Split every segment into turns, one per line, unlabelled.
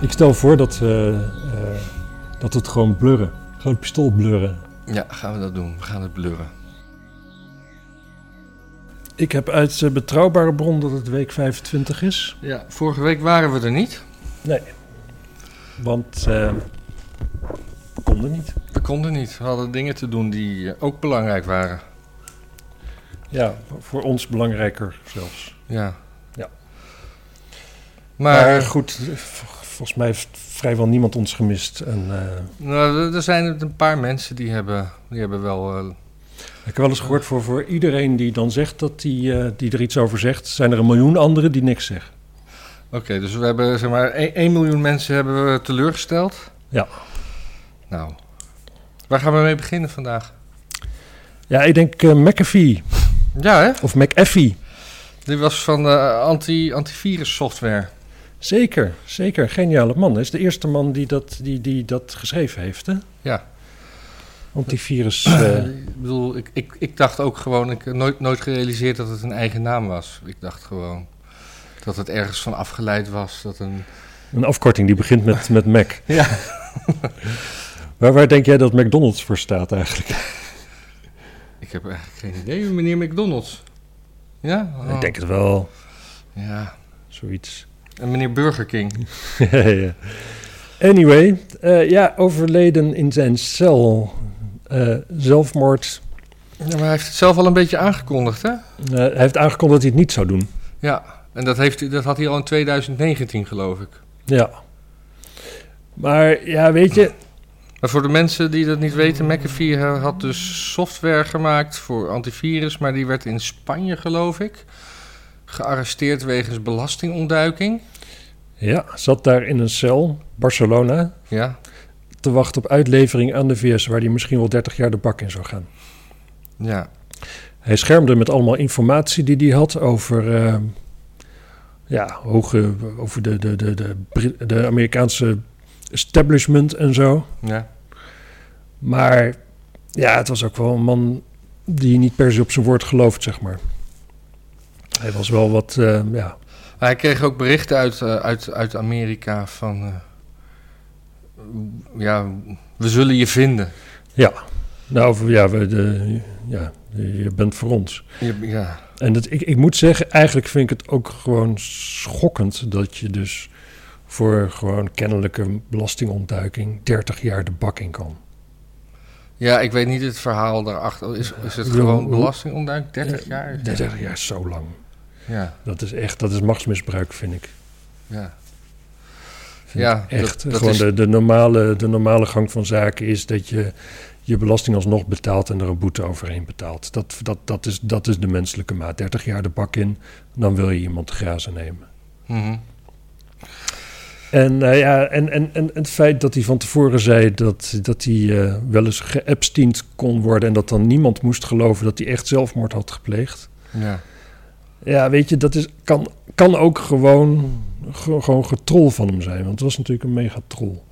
Ik stel voor dat, eh, eh, dat het gewoon blurren. Gewoon het pistool blurren.
Ja, gaan we dat doen. We gaan het blurren.
Ik heb uit eh, betrouwbare bron dat het week 25 is.
Ja, vorige week waren we er niet.
Want eh we konden niet.
We konden niet. We hadden dingen te doen die eh, ook belangrijk waren.
Ja, voor ons belangrijker zelfs.
Ja.
Ja.
Maar,
maar goed, eh, v- volgens mij heeft vrijwel niemand ons gemist. En, eh,
nou, er- er zijn een paar mensen die hebben, die hebben wel... eh,
ik heb wel eens gehoord voor, voor iedereen die dan zegt dat die, eh, die er iets over zegt, zijn er een miljoen anderen die niks zeggen.
Oké, dus we hebben zeg maar 1 miljoen mensen hebben we teleurgesteld.
Ja.
Nou, waar gaan we mee beginnen vandaag?
Ja, ik denk eh, McAfee
Ja, hè?
of McAfee.
Dit was van eh, anti, antivirus software.
Zeker, zeker. Geniale man. Hij is de eerste man die dat, die, die dat geschreven heeft, hè?
Ja.
Antivirus. eh,
Ik bedoel, ik, ik, ik dacht ook gewoon, ik heb nooit, nooit gerealiseerd dat het een eigen naam was. Ik dacht gewoon dat het ergens van afgeleid was. Dat een...
een afkorting die begint met, met Mac.
Ja.
Waar, waar denk jij dat McDonald's voor staat eigenlijk?
Ik heb eigenlijk geen idee, meneer McDonald's. Ja? Oh,
Ik denk het wel.
Ja.
Zoiets.
En meneer Burger King.
Ja, ja. anyway, eh, ja, overleden in zijn cel. Eh, zelfmoord.
Ja, maar hij heeft het zelf al een beetje aangekondigd, hè?
Eh, hij heeft aangekondigd dat hij het niet zou doen.
Ja, en dat, heeft, hij- dat had hij al in 2019, geloof ik.
Ja. Maar ja, weet je,
Maar voor de mensen die dat niet weten, McAfee eh, had dus software gemaakt voor antivirus, maar die werd in Spanje, geloof ik, gearresteerd wegens belastingontduiking.
ja, zat daar in een cel, Barcelona.
Ja,
te wachten op uitlevering aan de VS, waar hij misschien wel 30 jaar de bak in zou gaan.
ja.
Hij schermde met allemaal informatie die hij had over, eh, ja, hoge, over de, de, de, de, Brit- de Amerikaanse establishment en zo.
ja.
Maar ja, het was ook wel een man die niet per se op zijn woord gelooft, zeg maar. Hij was wel wat, eh, ja,
Maar hij kreeg ook berichten uit, eh, uit, uit Amerika van, eh, ja, we zullen je vinden.
ja. Nou, ja, we, de, ja, je bent voor ons.
Je- ja,
En dat, ik, ik moet zeggen, eigenlijk vind ik het ook gewoon schokkend dat je dus voor gewoon kennelijke belastingontduiking 30 jaar de bak in kan.
ja, ik weet niet het verhaal daarachter. Is, is het
Ja,
gewoon
hoe-
belastingontduiking? 30 jaar?
30 jaar is zo lang.
Ja,
Dat is echt, dat is machtsmisbruik, vind ik.
ja.
Vind
Ja,
ik echt.
dat- dat
gewoon
is-
de, de, normale, de normale gang van zaken is dat je je belasting alsnog betaalt en er een boete overheen betaalt. Dat, dat, dat, is, dat is de menselijke maat. 30 jaar de bak in, dan wil je iemand te grazen nemen.
Mhm.
En, eh, ja, en, en, en het feit dat hij van tevoren zei dat, dat hij eh, wel eens geëpsteend kon worden... en dat dan niemand moest geloven dat hij echt zelfmoord had gepleegd.
ja.
Ja, weet je, dat is, kan, kan ook gewoon, ge- gewoon getrol van hem zijn. Want het was natuurlijk een megatrol.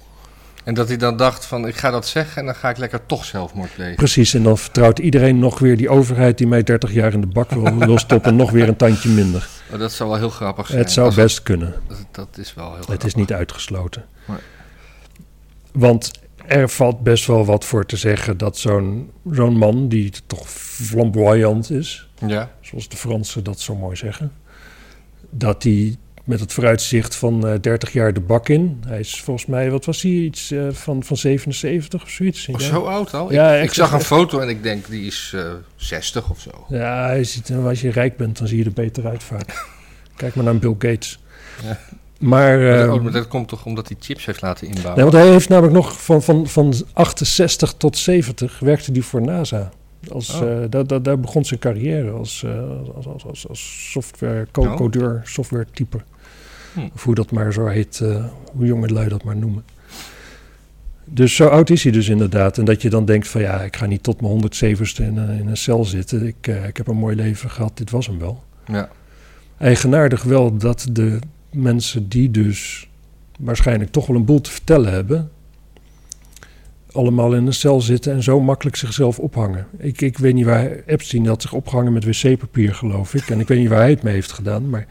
En dat hij dan dacht van, ik ga dat zeggen en dan ga ik lekker toch zelfmoord plegen.
Precies, en dan vertrouwt iedereen nog weer die overheid... die mij 30 jaar in de bak wil, wil stoppen, nog weer een tandje minder.
Oh, dat zou wel heel grappig zijn.
Het zou
Als-
best kunnen.
Dat, dat is wel heel
Het
grappig.
is niet uitgesloten.
Nee.
Want er valt best wel wat voor te zeggen dat zo'n zo'n man, die toch flamboyant is,
Ja,
zoals de Fransen dat zo mooi zeggen, dat hij met het vooruitzicht van eh, 30 jaar de bak in, hij is volgens mij, wat was hij, iets eh, van, van 77 of zoiets?
Oh, zo oud al?
Ja,
ik, ik
echt-
zag een
echt-
foto en ik denk, die is eh 60 of zo.
Ja, hij ziet, en als je rijk bent, dan zie je er beter uit vaak. Kijk maar naar Bill Gates.
Ja.
Maar,
Maar dat-
ehm, Nou,
oh, maar dat komt toch omdat hij chips heeft laten inbouwen?
Nee, want hij heeft namelijk nog van, van, van 68 tot 70 werkte hij voor NASA. Als,
Oh.
eh, daar, daar, daar begon zijn carrière als, eh, als, als, als, als software co-
Oh.
codeur, software type.
Hm.
Of hoe dat maar zo heet, eh, hoe jongelui dat maar noemen. Dus zo oud is hij dus inderdaad. En dat je dan denkt van ja, ik ga niet tot mijn 107ste in, een- in een cel zitten. Ik, eh, ik heb een mooi leven gehad, dit was hem wel
Ja.
eigenaardig wel dat de mensen die dus waarschijnlijk toch wel een boel te vertellen hebben, allemaal in een cel zitten en zo makkelijk zichzelf ophangen. Ik, ik weet niet waar Epstein had zich opgehangen met wc-papier, geloof ik. En ik weet niet waar hij het mee heeft gedaan, maar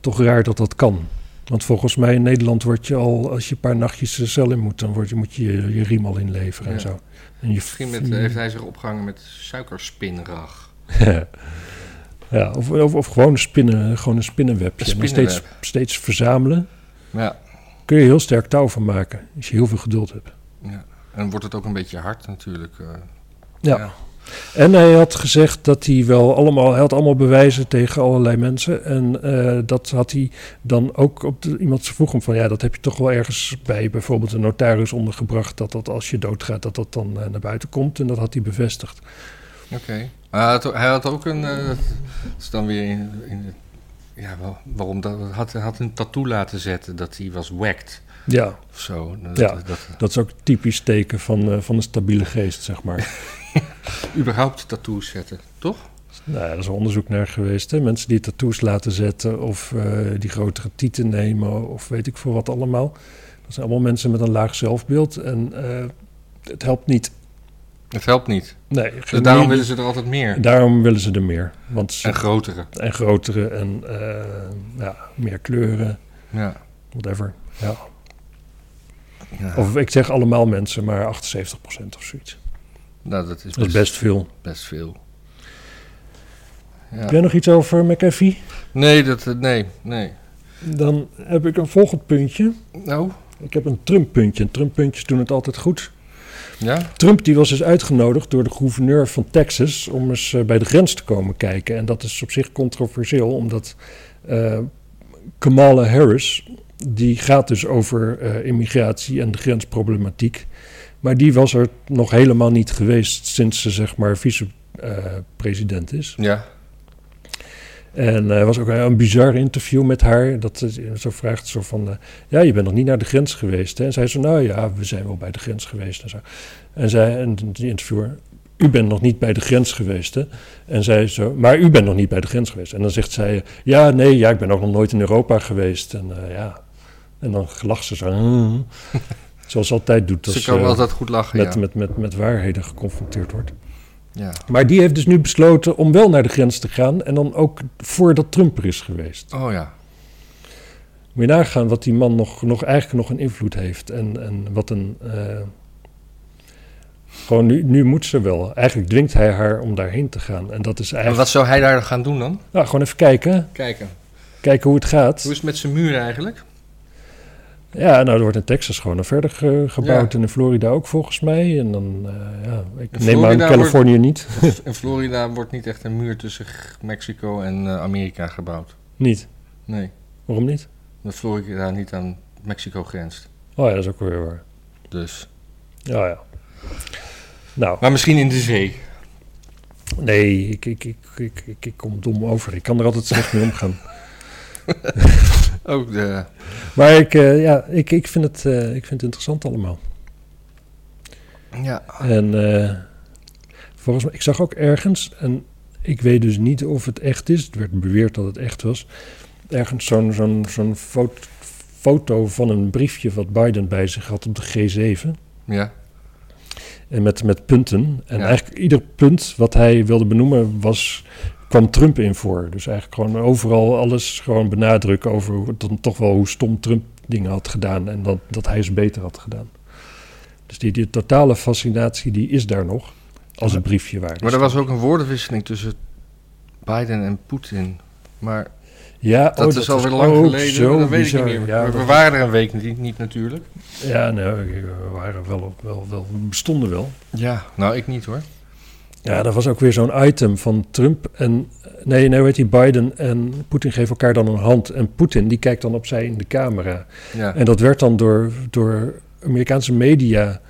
toch raar dat dat kan. Want volgens mij in Nederland word je al, als je een paar nachtjes de cel in moet, dan word je, moet je je, je riem al inleveren
Ja.
en zo. En je
Misschien met,
eh,
eh, heeft hij zich opgehangen met suikerspinrag.
ja, of, of, of gewoon spinnen, gewoon een spinnenwebje.
Een
En dan steeds, steeds verzamelen.
Ja.
Kun je heel sterk touw van maken, als je heel veel geduld hebt.
ja. En wordt het ook een beetje hard natuurlijk. eh.
Ja. En hij had gezegd dat hij wel allemaal, hij had allemaal bewijzen tegen allerlei mensen. En eh, dat had hij dan ook op de, iemand vroeg hem van ja, dat heb je toch wel ergens bij bijvoorbeeld een notaris ondergebracht. Dat dat als je doodgaat, dat dat dan eh, naar buiten komt. En dat had hij bevestigd.
Oké. Maar hij had, hij had ook een. eh, dat is dan weer in. in- ja, wel- waarom dat? Hij had, hij had een tattoo laten zetten dat hij was whacked
Ja,
of zo. Dat,
Ja.
dat, dat-
dat is ook typisch teken van, eh, van een stabiele geest, zeg maar.
überhaupt tattoos zetten, toch?
nou, ja, er is wel onderzoek naar geweest. Hè? Mensen die tattoos laten zetten of eh, die grotere tieten nemen of weet ik veel wat allemaal. Dat zijn allemaal mensen met een laag zelfbeeld. En eh, het helpt niet.
Het helpt niet.
Nee,
Dus daarom
meer-
willen ze er altijd meer.
daarom willen ze er meer. Want ze-
En grotere.
en grotere en eh, ja, meer kleuren,
Ja.
whatever. Ja.
Ja.
Of ik zeg allemaal mensen, maar 78% of zoiets.
nou, dat is
Dat is
best,
best veel.
best veel.
Heb
Ja.
jij nog iets over McAfee?
Nee, dat, eh, nee, nee.
Dan heb ik een volgend puntje.
Nou,
Ik heb een Trump-puntje. En Trump-puntjes doen het altijd goed.
ja.
Trump die was dus uitgenodigd door de gouverneur van Texas om eens eh, bij de grens te komen kijken. En dat is op zich controversieel, omdat eh, Kamala Harris, die gaat dus over eh, immigratie en de grensproblematiek. Maar die was er nog helemaal niet geweest sinds ze zeg maar vicepresident is.
Ja.
En eh, er was ook een, een bizar interview met haar. Dat ze zo vraagt zo van, eh, ja, je bent nog niet naar de grens geweest. Hè? En zij zo, nou ja, we zijn wel bij de grens geweest en zo. En zij, en die interviewer, u bent nog niet bij de grens geweest, hè? En zij zo, maar u bent nog niet bij de grens geweest. En dan zegt zij, eh, ja, nee, ja, ik ben ook nog nooit in Europa geweest. En eh, ja, en dan lacht ze zo, "Hmm." zoals ze altijd doet als
Ze
ze
kan altijd goed lachen,
met,
ja.
met, met, met waarheden geconfronteerd wordt.
ja.
Maar die heeft dus nu besloten om wel naar de grens te gaan. En dan ook voordat Trump er is geweest.
Oh ja.
Moet je nagaan wat die man nog, nog eigenlijk nog een invloed heeft. En, en wat een. eh, gewoon nu, nu moet ze wel. Eigenlijk dwingt hij haar om daarheen te gaan. En dat is
En
eigenlijk.
wat zou hij daar gaan doen dan?
Nou, gewoon even kijken.
Kijken.
Kijken hoe het gaat.
Hoe is het met zijn muur eigenlijk?
Ja, nou, er wordt in Texas gewoon nog verder ge- gebouwd.
Ja.
En in Florida ook volgens mij. En dan. eh, ja, ik
In
neem aan in
Florida wordt-
Californië niet.
Dus In Florida wordt niet echt een muur tussen G- Mexico en eh, Amerika gebouwd.
Niet.
Nee,
Waarom niet?
omdat Florida niet aan Mexico grenst.
Oh ja, dat is ook weer waar. Oh
Dus.
Ja, ja. Nou.
Maar misschien in de zee.
Nee, ik, ik, ik, ik, ik, ik kom dom over. Ik kan er altijd slecht mee omgaan.
Ook de...
Maar ik, eh, ja, ik, ik, vind het, eh, ik vind het interessant allemaal.
Ja.
En eh, volgens mij, ik zag ook ergens, en ik weet dus niet of het echt is. Het werd beweerd dat het echt was. Ergens zo'n zo'n zo'n foto, foto van een briefje wat Biden bij zich had op de G7.
Ja.
En met, met punten. En
Ja.
eigenlijk ieder punt wat hij wilde benoemen was, kwam Trump in voor. Dus eigenlijk gewoon overal alles gewoon benadrukken over hoe- dan toch wel hoe stom Trump dingen had gedaan. En dat, dat hij ze beter had gedaan. Dus die, die totale fascinatie die is daar nog. Als het briefje waar.
Maar er was ook een woordenwisseling tussen Biden en Poetin. Maar
ja,
Oh,
oh,
dat, is oh, alweer lang geleden.
Zo
dat weet
bizar.
ik niet meer.
Ja,
Maar we
dat-
waren er een week niet, niet natuurlijk.
ja, nou, we waren wel, op- wel, wel, we bestonden wel.
Ja. Nou, ik niet hoor.
Ja, dat was ook weer zo'n item van Trump en... Nee, nee, weet je, Biden en Poetin geven elkaar dan een hand. En Poetin, die kijkt dan opzij in de camera.
Ja.
En dat werd dan door, door Amerikaanse media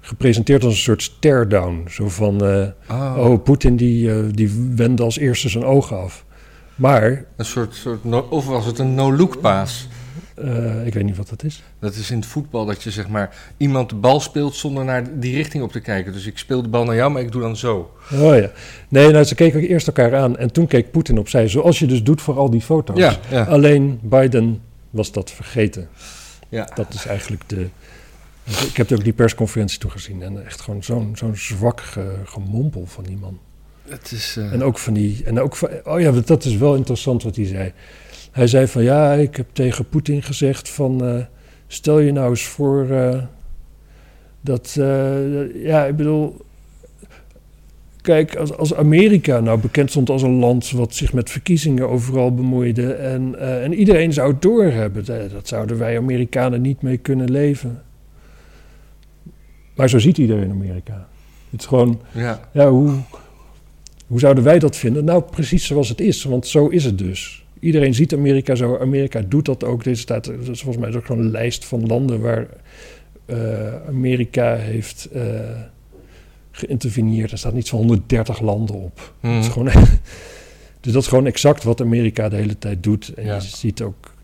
gepresenteerd als een soort stare-down. Zo van, eh,
Oh,
oh, Poetin die, eh, die wendde als eerste zijn ogen af. Maar,
Een soort... soort no- of was het een no-look paas?
eh, ik weet niet wat dat is.
Dat is in het voetbal dat je zeg maar iemand de bal speelt zonder naar die richting op te kijken. Dus ik speel de bal naar jou, maar ik doe dan zo.
Oh ja. Nee, nou, ze keken ook eerst elkaar aan en toen keek Poetin opzij. Zoals je dus doet voor al die foto's.
Ja, ja.
Alleen Biden was dat vergeten.
Ja.
Dat is eigenlijk de. Ik heb ook die persconferentie toen gezien en echt gewoon zo'n zo'n zwak ge- gemompel van die man.
Het is. eh,
En ook van die. En ook van, oh ja, dat is wel interessant wat hij zei. Hij zei van ja, ik heb tegen Poetin gezegd van eh, stel je nou eens voor eh, dat, eh, ja, ik bedoel, kijk, als, als Amerika nou bekend stond als een land wat zich met verkiezingen overal bemoeide en, eh, en iedereen zou het doorhebben, eh, dat zouden wij Amerikanen niet mee kunnen leven. Maar zo ziet iedereen Amerika. Het is gewoon
Ja,
ja, hoe, hoe zouden wij dat vinden? Nou, precies zoals het is, want zo is het dus. Iedereen ziet Amerika zo. Amerika doet dat ook. Deze staat, dat is volgens mij is ook zo'n lijst van landen waar eh, Amerika heeft eh, geïnterveneerd. Er staat niet van 130 landen op.
Mhm.
Dat is gewoon, dus dat is gewoon exact wat Amerika de hele tijd doet. En
Ja.
je ziet ook.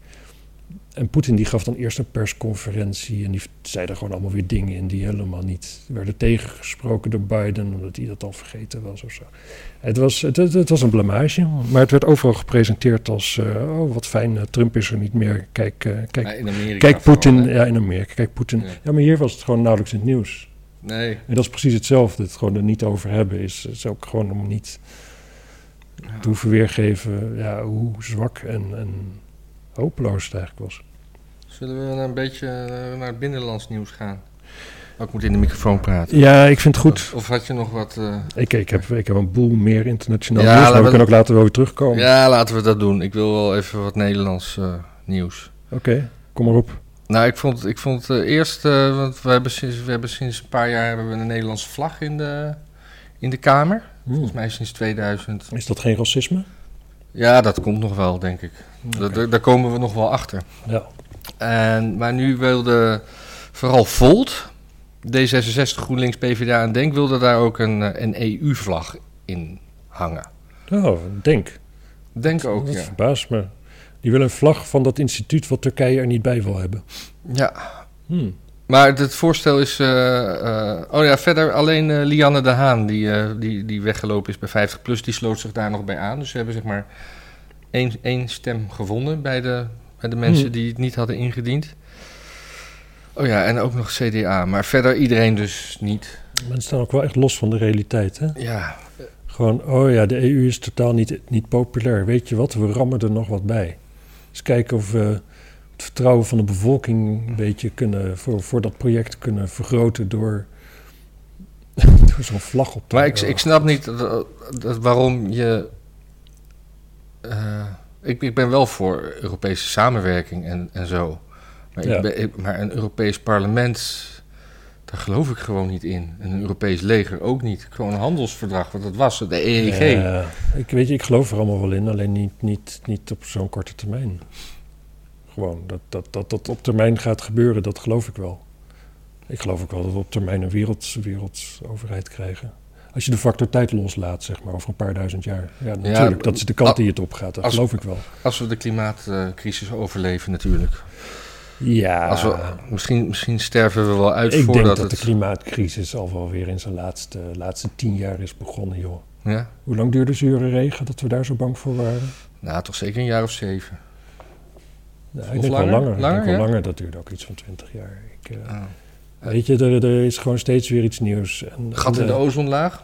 En Poetin die gaf dan eerst een persconferentie en die zei er gewoon allemaal weer dingen in die helemaal niet werden tegengesproken door Biden, omdat hij dat al vergeten was of zo. Het was, het, het, het was een blamage, maar het werd overal gepresenteerd als, eh, oh wat fijn, eh, Trump is er niet meer, kijk, eh, kijk,
Ja, in Amerika
kijk
vooral,
Poetin,
hè.
ja in Amerika, kijk Poetin.
Ja.
Ja. maar hier was het gewoon nauwelijks in het nieuws.
Nee.
En dat is precies hetzelfde, het gewoon er niet over hebben is, is ook gewoon om niet
Ja.
te hoeven weergeven ja, hoe zwak en, en hopeloos het eigenlijk was.
Zullen we een beetje eh, naar het binnenlands nieuws gaan? Oh, ik moet in de microfoon praten.
Ja, ik vind het goed.
Of, of had je nog wat... eh,
Ik, ik, heb, ik heb een boel meer internationaal
Ja,
nieuws, maar
laten
we
we-
kunnen ook later wel weer terugkomen.
Ja, laten we dat doen. Ik wil wel even wat Nederlands eh, nieuws.
Oké, kom maar op.
Nou, ik vond, ik vond eh, eerst, eh, want we hebben, sinds, we hebben sinds een paar jaar hebben we een Nederlandse vlag in de, in de Kamer.
Hmm.
Volgens mij sinds 2000.
Is dat geen racisme?
Ja, dat komt nog wel, denk ik. Da- da- daar komen we nog wel achter.
Ja.
En, maar nu wilde vooral Volt, D66, GroenLinks, PvdA en Denk, wilde daar ook een, eh, een EU-vlag in hangen.
Oh, denk.
Denk ook,
dat
ja.
verbaast me. Die willen een vlag van dat instituut wat Turkije er niet bij wil hebben.
Ja,
Hmm.
Maar het voorstel is. eh, eh, oh ja, verder alleen eh, Lianne de Haan, die, eh, die, die weggelopen is bij 50 plus, die sloot zich daar nog bij aan. Dus ze hebben zeg maar één, één stem gevonden bij de, bij de mensen
Hmm.
die het niet hadden ingediend. Oh ja, en ook nog CDA. Maar verder iedereen dus niet.
Mensen staan ook wel echt los van de realiteit, hè?
Ja,
Gewoon, oh ja, de EU is totaal niet, niet populair. Weet je wat, we rammen er nog wat bij. Eens kijken of we het vertrouwen van de bevolking een beetje kunnen, voor, voor dat project kunnen vergroten door, door zo'n vlag op te
maar ik,
hangen.
ik snap niet dat, dat waarom je. eh, ik, ik ben wel voor Europese samenwerking en, en zo. Maar,
Ja.
ik ben, ik- maar een Europees parlement, daar geloof ik gewoon niet in. En een Europees leger ook niet. Gewoon een handelsverdrag, want dat was het, de E EEG.
Ja, Eh, ik weet je, ik geloof er allemaal wel in, alleen niet, niet, niet op zo'n korte termijn. Gewoon, dat dat, dat dat op termijn gaat gebeuren, dat geloof ik wel. Ik geloof ook wel dat we op termijn een werelds, wereldsoverheid krijgen. Als je de factor tijd loslaat, zeg maar, over een paar duizend jaar. Ja, natuurlijk, dat is de kant die het op gaat, dat
als-
geloof ik wel.
Als we de klimaatcrisis overleven natuurlijk.
Ja,
Als we, misschien, misschien sterven we wel uit
Ah. ik denk
voordat
dat de
het...
klimaatcrisis al wel weer in zijn laatste, laatste tien jaar is begonnen, joh.
ja?
Hoe lang duurde zure regen dat we daar zo bang voor waren?
Nou, toch zeker een jaar of zeven.
Nou,
Of
ik denk
langer?
wel langer.
Langer,
ik denk wel
ja?
langer. Dat duurde ook iets van 20 jaar. Ik, eh,
Ah.
Weet je, er, er is gewoon steeds weer iets nieuws. En,
Gat in de
eh,
ozonlaag?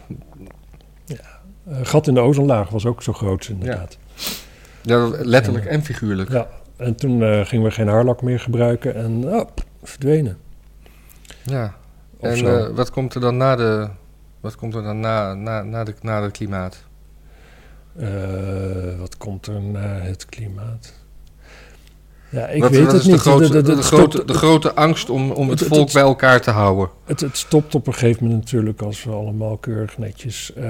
eh, gat in de ozonlaag was ook zo groot, inderdaad.
Ja, letterlijk en figuurlijk.
Ja. En toen eh, gingen we geen haarlak meer gebruiken en ah, pff, verdwenen.
Ja.
Of
En
zo.
eh, wat komt er dan na de... Wat komt er dan na, na, na, de, na het klimaat?
Eh, wat komt er na het klimaat? Ja, ik
Wat-
weet
dat
het
is
niet.
De grote, de,
Dat- dat- dat
grote,
stopt-
de grote angst om, om het
Het- het-
volk bij elkaar te houden.
Het, het stopt op een gegeven moment natuurlijk als we allemaal keurig netjes eh,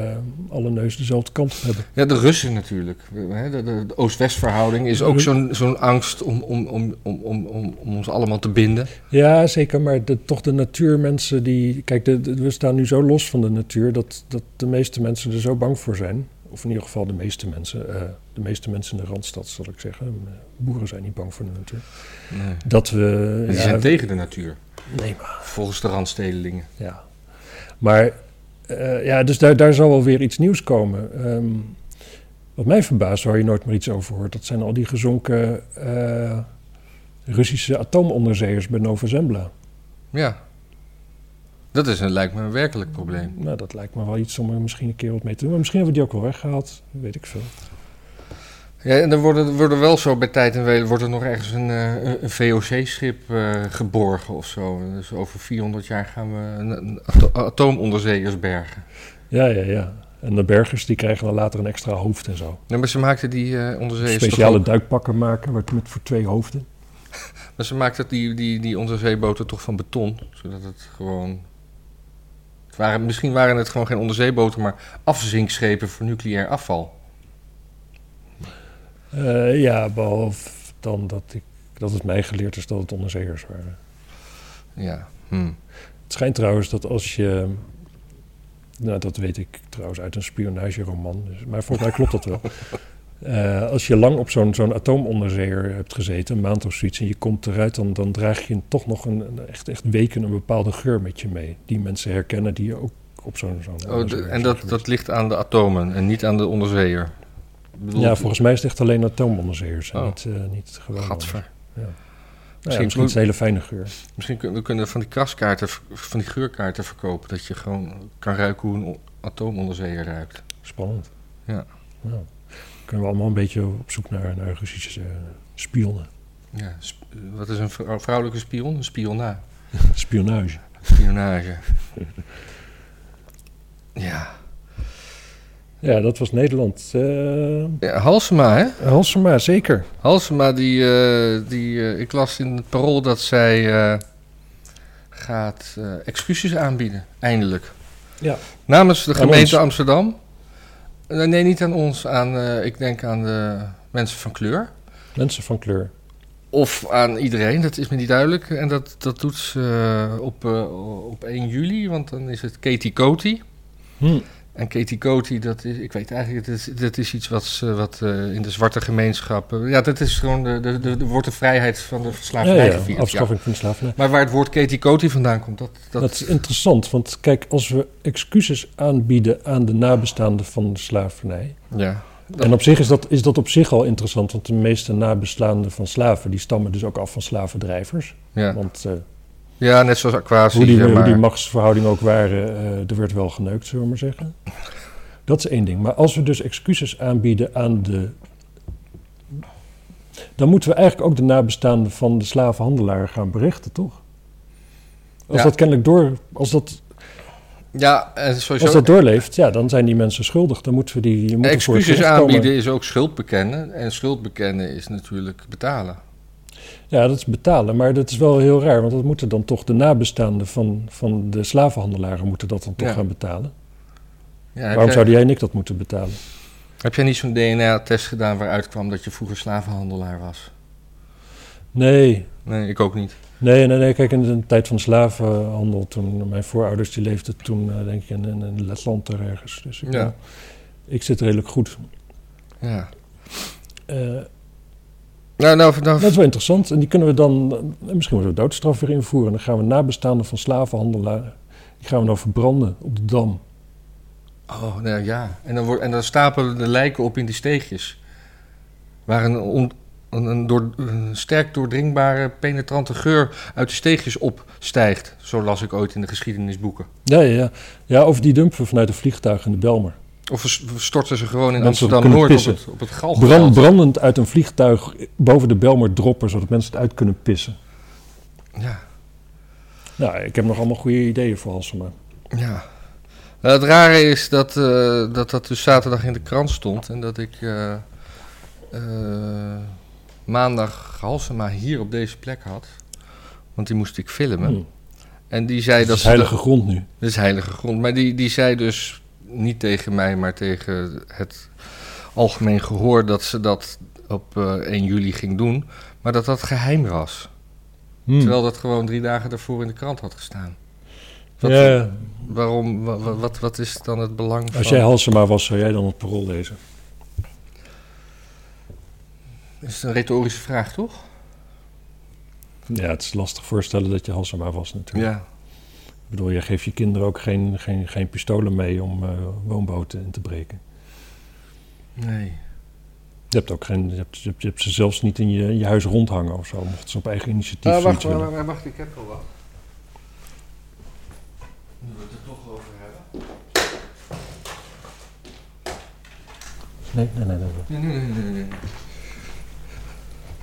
alle neus dezelfde kant op hebben.
Ja, de Russen natuurlijk. We- we- hè, De, de, de Oost-West verhouding is ook
Ru-
zo'n zo'n angst om, om, om, om, om, om, om ons allemaal te binden.
Ja, zeker. Maar de, toch de natuurmensen die... Kijk, de- de- we staan nu zo los van de natuur... Dat, dat de meeste mensen er zo bang voor zijn. Of in ieder geval de meeste mensen. eh, de meeste mensen in de Randstad, zal ik zeggen. Eh, Boeren zijn niet bang voor de natuur.
Nee.
Dat we...
Die
ja,
zijn tegen de natuur,
Nee,
volgens de randstedelingen.
ja. Maar eh, ja, dus daar, daar zal wel weer iets nieuws komen. Ehm, wat mij verbaast, waar je nooit meer iets over hoort, dat zijn al die gezonken eh, Russische atoomonderzeeërs bij Nova Zembla.
Ja. Dat is een, lijkt me een werkelijk probleem.
Nou, dat lijkt me wel iets om er misschien een keer wat mee te doen. Maar misschien hebben we die ook wel weggehaald, weet ik veel.
Ja, en er worden, worden wel zo bij tijd en weder wordt er nog ergens een, eh, een- een VOC-schip eh, geborgen of zo. Dus over 400 jaar gaan we een, een ato- atoomonderzeeërs bergen.
Ja, ja, ja. En de bergers die krijgen dan later een extra hoofd en zo.
Ja, maar ze maakten die eh, onderzeeërs toch
Speciale
ook-
duikpakken maken met, met voor twee hoofden.
maar ze maakten die, die, die onderzeeboten toch van beton, zodat het gewoon... Het waren, misschien waren het gewoon geen onderzeeboten, maar afzinkschepen voor nucleair afval.
Eh, ja, behalve dan dat, ik, dat het mij geleerd is dat het onderzeeërs waren.
Ja, hm.
Het schijnt trouwens dat als je... Nou, dat weet ik trouwens uit een spionageroman. Dus, maar volgens mij klopt dat wel. Eh, als je lang op zo'n zo'n atoomonderzeeër hebt gezeten, een maand of zoiets... en je komt eruit, dan, dan draag je toch nog een, een- echt, echt weken een bepaalde geur met je mee. Die mensen herkennen die je ook op zo'n... zo'n
Oh, de-
onderzeeër
en
bent
dat,
geweest.
dat ligt aan de atomen en niet aan de onderzeeër. Ik bedoel,
Ja, volgens mij is het echt alleen atoomonderzeeërs. en
Oh.
Niet, eh, niet gewoon...
Gadver.
Nou ja, misschien is het een hele fijne geur.
Misschien kunnen we kunnen van die kraskaarten, van die geurkaarten verkopen. Dat je gewoon kan ruiken hoe een o- atoomonderzeeër ruikt.
Spannend.
Ja.
Nou, kunnen we allemaal een beetje op zoek naar, naar Russische eh, spionnen.
Ja, sp- eh, wat is een vrou- vrouwelijke spion? Een spiona.
Spionage.
Spionage. ja.
Ja, dat was Nederland. Eh
ja. Halsema, hè?
Halsema, zeker.
Halsema, die, eh, die, eh, ik las in het parool dat zij eh, gaat eh, excuses aanbieden, eindelijk.
Ja.
Namens de
Aan
gemeente
ons.
Amsterdam. Eh, Nee, niet aan ons, aan, eh, ik denk aan de mensen van kleur.
Mensen van kleur.
Of aan iedereen, dat is me niet duidelijk. En dat, dat doet ze eh, op, eh, op 1 juli, want dan is het Katie Coty.
Hm.
En Katie Coty, dat is, ik weet eigenlijk, dat is, dat is iets wat, ze- wat eh, in de zwarte gemeenschap... eh, ja, dat is gewoon, de, de, de, de- wordt de vrijheid van de
Ja,
verslavernij
ja,
gevierd. ja.
afschaffing van slavernij.
Maar waar het woord Katie Coty vandaan komt, dat... dat,
Dat... is interessant, want kijk, als we excuses aanbieden aan de nabestaanden van de slavernij.
ja. Dat-
En op zich is dat, is dat op zich al interessant, want de meeste nabestaanden van slaven, die stammen dus ook af van slavendrijvers.
Ja.
Want eh,
ja, net zoals Aquasi,
hoe, die,
zeg
hoe
maar.
die machtsverhoudingen ook waren, eh, er werd wel geneukt, zullen we maar zeggen. Dat is één ding. Maar als we dus excuses aanbieden aan de. dan moeten we eigenlijk ook de nabestaanden van de slavenhandelaar gaan berichten, toch? Als
Ja.
dat kennelijk door. Als dat,
Ja, en sowieso...
als dat doorleeft, ja, dan zijn die mensen schuldig. Dan moeten we die. die moeten voor het
Excuses
gerecht komen.
aanbieden is ook schuld bekennen. En schuld bekennen is natuurlijk betalen.
Ja, dat is betalen. Maar dat is wel heel raar, want dat moeten dan toch de nabestaanden van, van de slavenhandelaren moeten dat dan toch
Ja.
gaan betalen.
Ja, heb
Waarom
jij-
zouden jij en ik dat moeten betalen?
Heb jij niet zo'n DNA-test gedaan waaruit kwam dat je vroeger slavenhandelaar was?
Nee,
Nee, ik ook niet.
Nee, nee, nee. Kijk, in de tijd van slavenhandel, toen mijn voorouders die leefden toen, eh, denk ik, in, in- in Letland daar ergens. Dus ik, eh,
Ja.
ik zit redelijk goed.
Ja.
Eh,
Nou, nou, nou,
dat is wel interessant. En die kunnen we dan, eh, misschien moeten we doodstraf weer invoeren. Dan gaan we nabestaanden van slavenhandelaren, die gaan we dan verbranden op de dam.
oh, nou ja. En dan, wordt, en dan stapelen de lijken op in die steegjes. Waar een, on- een, een door, een sterk doordringbare, penetrante geur uit de steegjes opstijgt. Zo las ik ooit in de geschiedenisboeken.
Ja, ja, ja. ja of die dumpen we vanuit een vliegtuig in de Belmer.
Of we s- we storten ze gewoon in
Mensen kunnen
Amsterdam-Noord op
pissen.
het, op het galgenveld.
Brand, brandend uit een vliegtuig boven de Belmer droppen, zodat mensen het uit kunnen pissen.
Ja.
Nou, ik heb nog allemaal goede ideeën voor Halsema.
Ja. Nou, het rare is dat, eh, dat dat dus zaterdag in de krant stond en dat ik eh, eh, maandag Halsema hier op deze plek had. Want die moest ik filmen.
Hm.
En die zei
Dat
dat
is
ze
heilige grond nu.
dat is heilige grond. Maar die, die zei dus niet tegen mij, maar tegen het algemeen gehoor dat ze dat op eh, 1 juli ging doen. Maar dat dat geheim was.
Hm.
Terwijl dat gewoon drie dagen daarvoor in de krant had gestaan. Wat-
ja,
Waarom, wa- wa- wat, wat is dan het belang van...
Als jij Halsema was, zou jij dan het parool lezen?
Dat is een retorische vraag, toch?
Ja, het is lastig voorstellen dat je Halsema was natuurlijk.
Ja.
Ik bedoel, je geeft je kinderen ook geen, geen, geen pistolen mee om eh, woonboten in te breken.
Nee.
Je hebt, ook geen, je, hebt, je, hebt, je hebt ze zelfs niet in je, in je huis rondhangen of zo, mochten ze op eigen initiatief
Ah, wacht,
zoiets
wacht,
willen.
wacht, wacht, ik heb al wat. Nu we het er toch over hebben.
Nee, nee, nee. nee.
Nee, nee, nee, nee, nee.
Nee.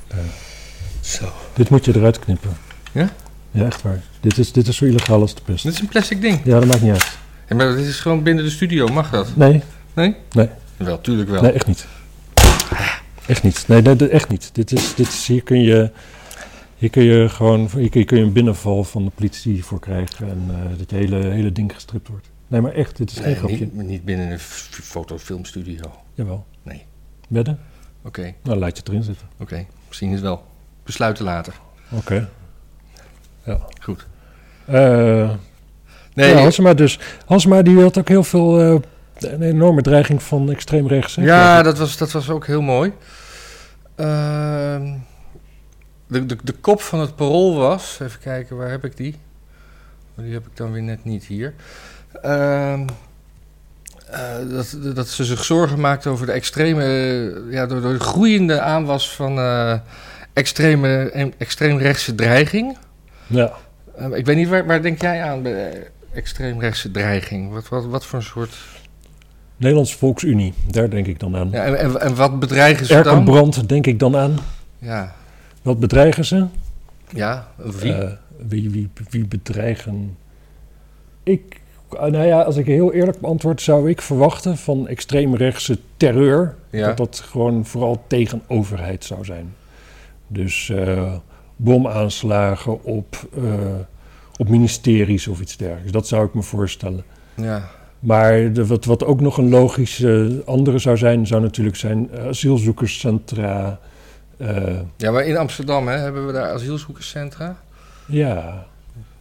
Eh, Zo.
Dit moet je eruit knippen.
Ja?
Ja, echt waar. Dit is, dit is zo illegaal als de pest.
Dit is een plastic ding.
Ja, dat maakt niet uit.
Ja, maar dit is gewoon binnen de studio, mag dat?
Nee,
Wel, tuurlijk wel.
nee echt niet. Echt niet. Nee, nee, dit- echt niet. Dit is, dit is, hier kun je... Hier kun je gewoon hier kun je, kun je een binnenval van de politie voor krijgen en eh, dat je hele, hele ding gestript wordt. Nee, maar echt, dit is geen
Nee,
grapje.
niet, niet binnen een f- fotofilmstudio. Oké,
Jawel.
Nee.
Bedden?
oké.
Nou, laat je het erin zitten.
Misschien is wel. Besluiten later.
Oké. Ja.
Goed.
Eh,
Nee,
ja,
ja,
Hansma dus. Hansma die had ook heel veel... eh, een enorme dreiging van extreem rechts. hè?
dat, was, dat was ook heel mooi. Ehm, de, de, de kop van het parool was... Even kijken, waar heb ik die? Oh, Die heb ik dan weer net niet hier. Ehm, eh, dat, dat ze zich zorgen maakte over de extreme... eh, Ja, door, door de groeiende aanwas van eh, extreme, em- extreemrechtse dreiging...
Ja.
Ehm, ik weet niet, waar, waar denk jij aan bij eh, extreemrechtse dreiging? Wat, wat, wat voor een soort...
Nederlands Volksunie, daar denk ik dan aan.
Ja, en, en, en wat bedreigen ze
Erkan
dan?
Brand denk ik dan aan.
Ja,
Wat bedreigen ze?
ja wie?
Eh, wie, wie, wie bedreigen? Ik, ah, nou ja, als ik heel eerlijk beantwoord, zou ik verwachten van extreemrechtse terreur
ja.
dat dat gewoon vooral tegen overheid zou zijn. Dus eh, bomaanslagen op, eh, op ministeries of iets dergelijks. Dat zou ik me voorstellen.
ja,
Maar de- wat, wat ook nog een logische andere zou zijn, zou natuurlijk zijn eh, asielzoekerscentra. eh,
ja, maar in Amsterdam hè, hebben we daar asielzoekerscentra.
ja,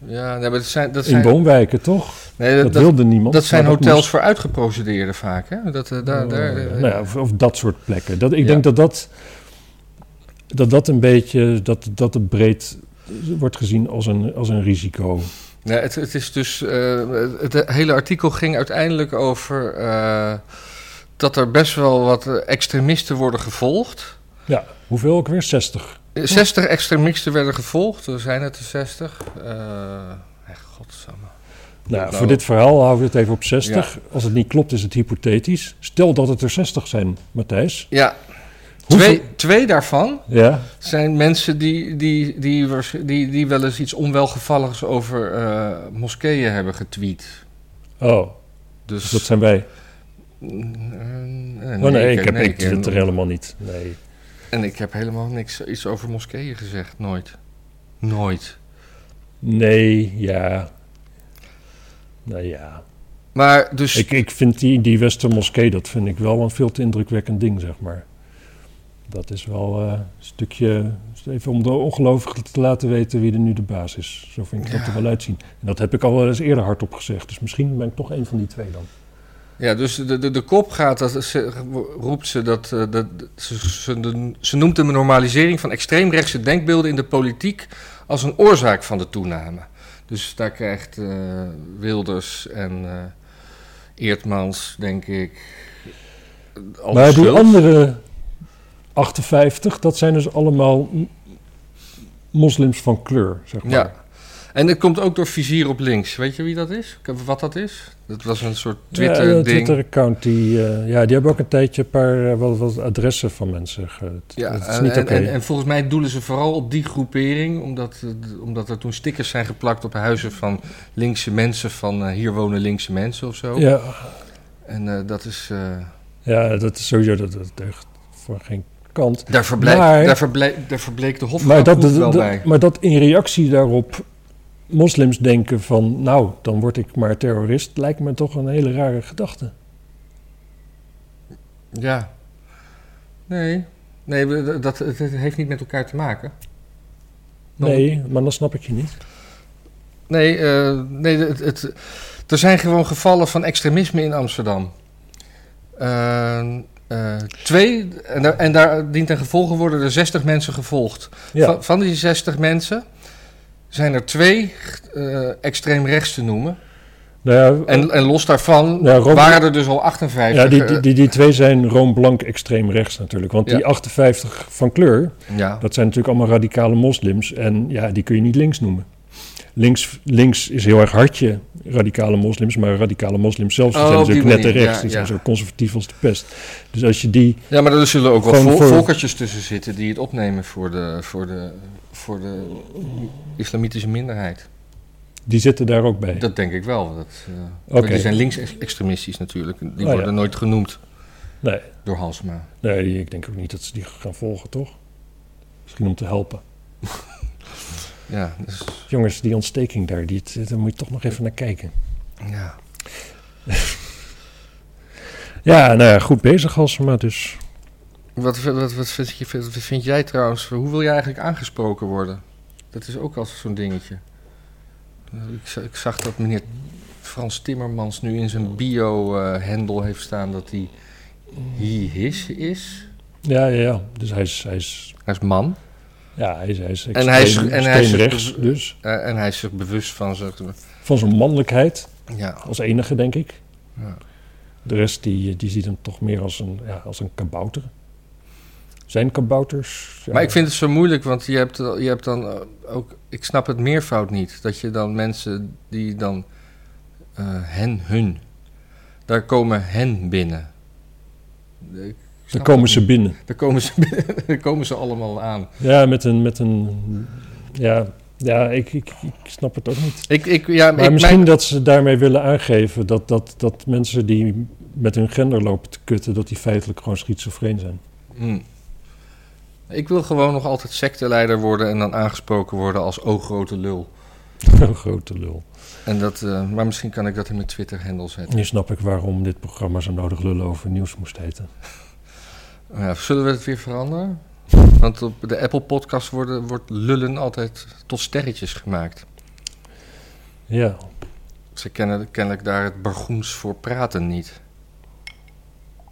Ja, nee, maar dat zijn... Dat
in
zijn,
woonwijken toch?
nee,
Dat,
dat, dat,
wilde niemand.
dat zijn
maar
hotels
moest-
voor uitgeprocedeerden vaak, hè? Dat, eh, daar, daar,
Eh,
eh,
nou ja, of, of dat soort plekken. Dat, ik
Ja.
denk dat dat, dat dat een beetje, dat, dat het breed wordt gezien als een, als een risico.
Ja, het, het is dus. eh, het, het hele artikel ging uiteindelijk over. eh, dat er best wel wat eh, extremisten worden gevolgd.
Ja, hoeveel ook weer? 60.
Eh, 60 extremisten werden gevolgd, er zijn het er 60. Eh echt, godsamme.
Nou,
Nou.
voor dit verhaal houden we het even op 60. Als het niet klopt, is het hypothetisch. Stel dat het er 60 zijn, Matthijs.
Ja,
Hoeveel-
twee, twee daarvan
Ja,
zijn mensen die, die, die, waarsch- die, die wel eens iets onwelgevalligs over eh, moskeeën hebben getweet.
oh. Dus
Dus.
dat zijn wij.
Mm, eh,
oh nee, ik,
ken-
heb
nee,
ik
ken-
Twitter helemaal niet. Nee.
En ik heb helemaal niks iets over moskeeën gezegd. Nooit. Nooit.
Nee, ja. Nou ja.
Maar dus.
Ik, ik vind die, die Westermoskee, dat vind ik wel een veel te indrukwekkend ding, zeg maar. Dat is wel eh, een stukje... Even om de ongelovigen te laten weten wie er nu de baas is. Zo vind ik dat
Ja.
er wel uitzien. En dat heb ik al wel eens eerder hardop gezegd. Dus misschien ben ik toch een van die twee dan.
Ja, dus de, de, de kop gaat, dat, ze, roept ze dat. eh, dat ze, ze, ze noemt de normalisering van extreemrechtse denkbeelden in de politiek. als een oorzaak van de toename. Dus daar krijgt eh, Wilders en eh, Eertmans, denk ik. al
maar die
schuld.
andere 58, dat zijn dus allemaal m- moslims van kleur, zeg maar.
Ja. En dat komt ook door vizier op links. Weet je wie dat is? Ik heb- Wat dat is? Dat was een soort
ja,
Twitter-ding.
Twitter-account, die, eh, ja, die hebben ook een tijdje een paar eh, wat, wat adressen van mensen. Ge-
Ja,
dat is
en,
niet oké.
en- en, en volgens mij doelen ze vooral op die groepering, omdat, eh, d- omdat er toen stickers zijn geplakt op huizen van linkse mensen, van eh, hier wonen linkse mensen of zo.
Ja,
En eh, dat is, eh,
ja, dat is sowieso, dat, dat deugt voor geen kant.
daar, verbleek,
Maar-
daar, verbleek, daar verbleek de
Maar
Hofgraafgroep
dat, dat-
wel
dat-
bij.
maar dat in reactie daarop moslims denken van... nou, dan word ik maar terrorist, lijkt me toch een hele rare gedachte.
Ja. Nee, nee we- dat, dat- het, het heeft niet met elkaar te maken. Dan-
Nee, maar dan snap ik je niet.
Nee, eh, nee het, het- er zijn gewoon gevallen van extremisme in Amsterdam. Eh, eh, twee, en, daar- en daar dient ten gevolge worden er 60 mensen gevolgd.
Ja.
Van, van die 60 mensen zijn er twee eh, extreem rechts te noemen.
Nou ja,
En, en los daarvan
Ja, Rob-
waren er dus al 58.
Ja, die,
eh,
die, die, die twee zijn roomblank extreem rechts natuurlijk. Want
Ja.
die 58 van kleur,
ja.
dat zijn natuurlijk allemaal radicale moslims. En ja, die kun je niet links noemen. Links, links is heel erg hartje radicale moslims, maar radicale moslims zelf die
Oh,
zijn
op die
natuurlijk net de
manier,
rechts.
ja,
die zijn
ja.
zo conservatief als de pest. Dus als je die
Ja, maar er zullen ook wel
Gewoon
vol-
voor-
volkertjes tussen zitten die het opnemen voor de, voor de, voor de islamitische minderheid.
Die zitten daar ook bij.
Dat denk ik wel. Dat, eh,
Oké. Oh,
want Die zijn linksextremistisch natuurlijk. Die
ja.
worden nooit genoemd
Nee.
door Halsema.
Nee, ik denk ook niet dat ze die gaan volgen, toch? Misschien om te helpen.
Ja, dus,
Jongens, die ontsteking daar, die, daar moet je toch nog even naar kijken.
ja.
Ja, nou ja, goed bezig, Halsema, dus.
Wat, wat, wat, vind je, wat vind jij trouwens? Hoe wil je eigenlijk aangesproken worden? Dat is ook altijd zo'n dingetje. Eh, Ik, za- ik zag dat meneer Frans Timmermans nu in zijn bio-hendel eh, heeft staan dat hij he, his is.
Ja, ja, ja. Dus hij is, hij is,
Hij is man.
ja, hij is, hij is
En hij is-
extreem-
en hij is-
extreemrechts, dus.
Eh, en hij is zich bewust van zijn.
Van zijn mannelijkheid,
Ja,
als enige, denk ik.
Ja.
De rest, die, die ziet hem toch meer als een, ja, als een kabouter. Zijn kabouters? Ja.
Maar ik vind het zo moeilijk, want je hebt, je hebt dan eh, ook... Ik snap het meervoud niet. Dat je dan mensen die dan... eh, hen, hun. Daar komen hen binnen. Ik
Dan
snap
komen
het
ze
niet.
binnen.
Daar komen ze, binnen. daar komen ze allemaal aan.
Ja, met een, met een ja, ja ik, ik, ik snap het ook niet.
Ik, ik, ja,
Maar
ik,
misschien
mijn-
dat ze daarmee willen aangeven dat, dat, dat mensen die met hun gender lopen te kutten, dat die feitelijk gewoon schizofreen zijn.
Hm. Ik wil gewoon nog altijd secteleider worden... en dan aangesproken worden als o grote lul.
Een grote lul.
En dat, eh, maar misschien kan ik dat in mijn Twitter-handle zetten.
Nu snap ik waarom dit programma zo nodig lullen over nieuws moest heten.
Nou Ja, zullen we het weer veranderen? Want op de Apple Podcast worden, wordt lullen altijd tot sterretjes gemaakt.
Ja,
Ze kennen kennelijk daar het bargoens voor praten niet.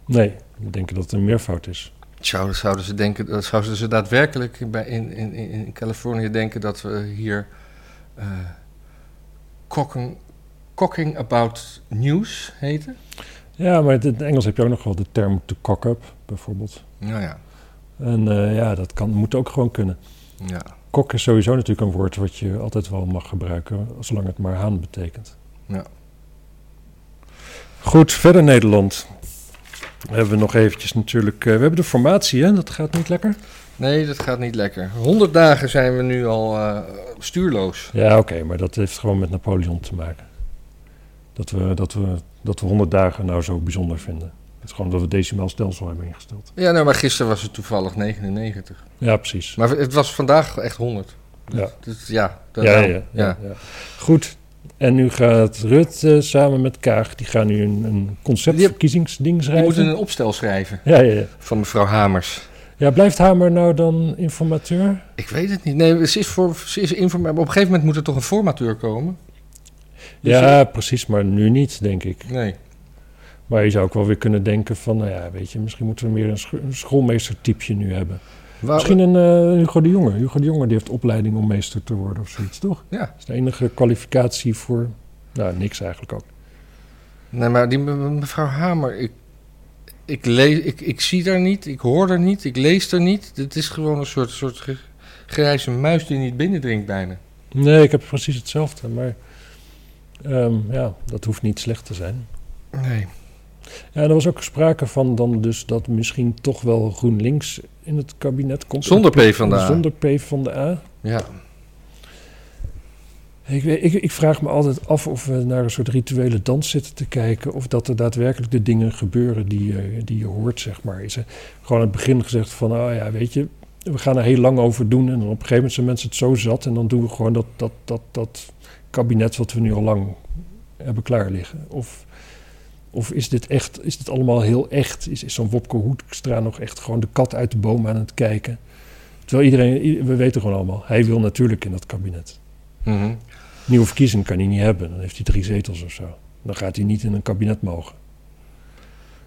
nee, we denken dat het een meervoud is.
Zouden, zouden ze denken, dat zouden ze daadwerkelijk bij, in, in, in in Californië denken dat we hier eh cocking, cocking about news heten?
Ja, maar in het Engels heb je ook nog wel de term to cock up, bijvoorbeeld.
Nou ja,
En eh, ja, dat kan, moet ook gewoon kunnen.
ja.
Kok is sowieso natuurlijk een woord wat je altijd wel mag gebruiken, zolang het maar haan betekent.
Ja.
Goed, verder Nederland. We hebben we nog eventjes natuurlijk. eh, we hebben de formatie, hè? Dat gaat niet lekker.
Nee, dat gaat niet lekker. 100 dagen zijn we nu al eh, stuurloos.
Ja, oké, maar dat heeft gewoon met Napoleon te maken. Dat we, dat, we, dat we 100 dagen nou zo bijzonder vinden. Het is gewoon dat we decimaal stelsel hebben ingesteld.
Ja, nou, maar gisteren was het toevallig 99.
Ja, precies.
Maar het was vandaag echt 100.
Ja.
Dus ja,
Ja,
dat-
ja,
nou,
ja, ja. Goed. En nu gaat Rutte samen met Kaag, die gaan nu een, een conceptverkiezingsding
Die
schrijven.
moeten een opstel schrijven
Ja, ja, ja.
van mevrouw Hamers.
ja, blijft Hamer nou dan informateur?
Ik weet het niet. Nee, ze is, voor, ze is informa- maar op een gegeven moment moet er toch een formateur komen? Dus
Ja, precies, maar nu niet, denk ik.
Nee.
Maar je zou ook wel weer kunnen denken van, nou ja, weet je, misschien moeten we meer een, sch een schoolmeestertypje nu hebben.
Waar-
Misschien een eh, Hugo de Jonge. Hugo de Jonge die heeft opleiding om meester te worden of zoiets, toch?
Ja.
Dat is de enige kwalificatie voor, nou, niks eigenlijk ook.
Nee, maar die me- mevrouw Hamer, ik, ik, lees, ik, ik zie daar niet, ik hoor daar niet, ik lees daar niet. Het is gewoon een soort, soort ge- grijze muis die niet binnendringt bijna.
Nee, ik heb precies hetzelfde, maar ehm, ja, dat hoeft niet slecht te zijn.
Nee.
Ja, er was ook sprake van dan dus dat misschien toch wel GroenLinks in het kabinet komt.
Zonder P van de A.
Zonder P van de A.
Ja.
Ik, weet- ik, ik vraag me altijd af of we naar een soort rituele dans zitten te kijken. Of dat er daadwerkelijk de dingen gebeuren die, je- die je hoort, zeg maar. Is er gewoon aan het begin gezegd van, oh ja, weet je, we gaan er heel lang over doen. En dan op een gegeven moment zijn mensen het zo zat. En dan doen we gewoon dat, dat, dat, dat kabinet wat we nu al lang hebben klaar liggen. Of, of is dit echt, is dit allemaal heel echt? Is, is zo'n Wopke Hoekstra nog echt gewoon de kat uit de boom aan het kijken? Terwijl iedereen, i- we weten gewoon allemaal, hij wil natuurlijk in dat kabinet.
Mhm.
Nieuwe verkiezing kan hij niet hebben. Dan heeft hij drie zetels of zo. Dan gaat hij niet in een kabinet mogen.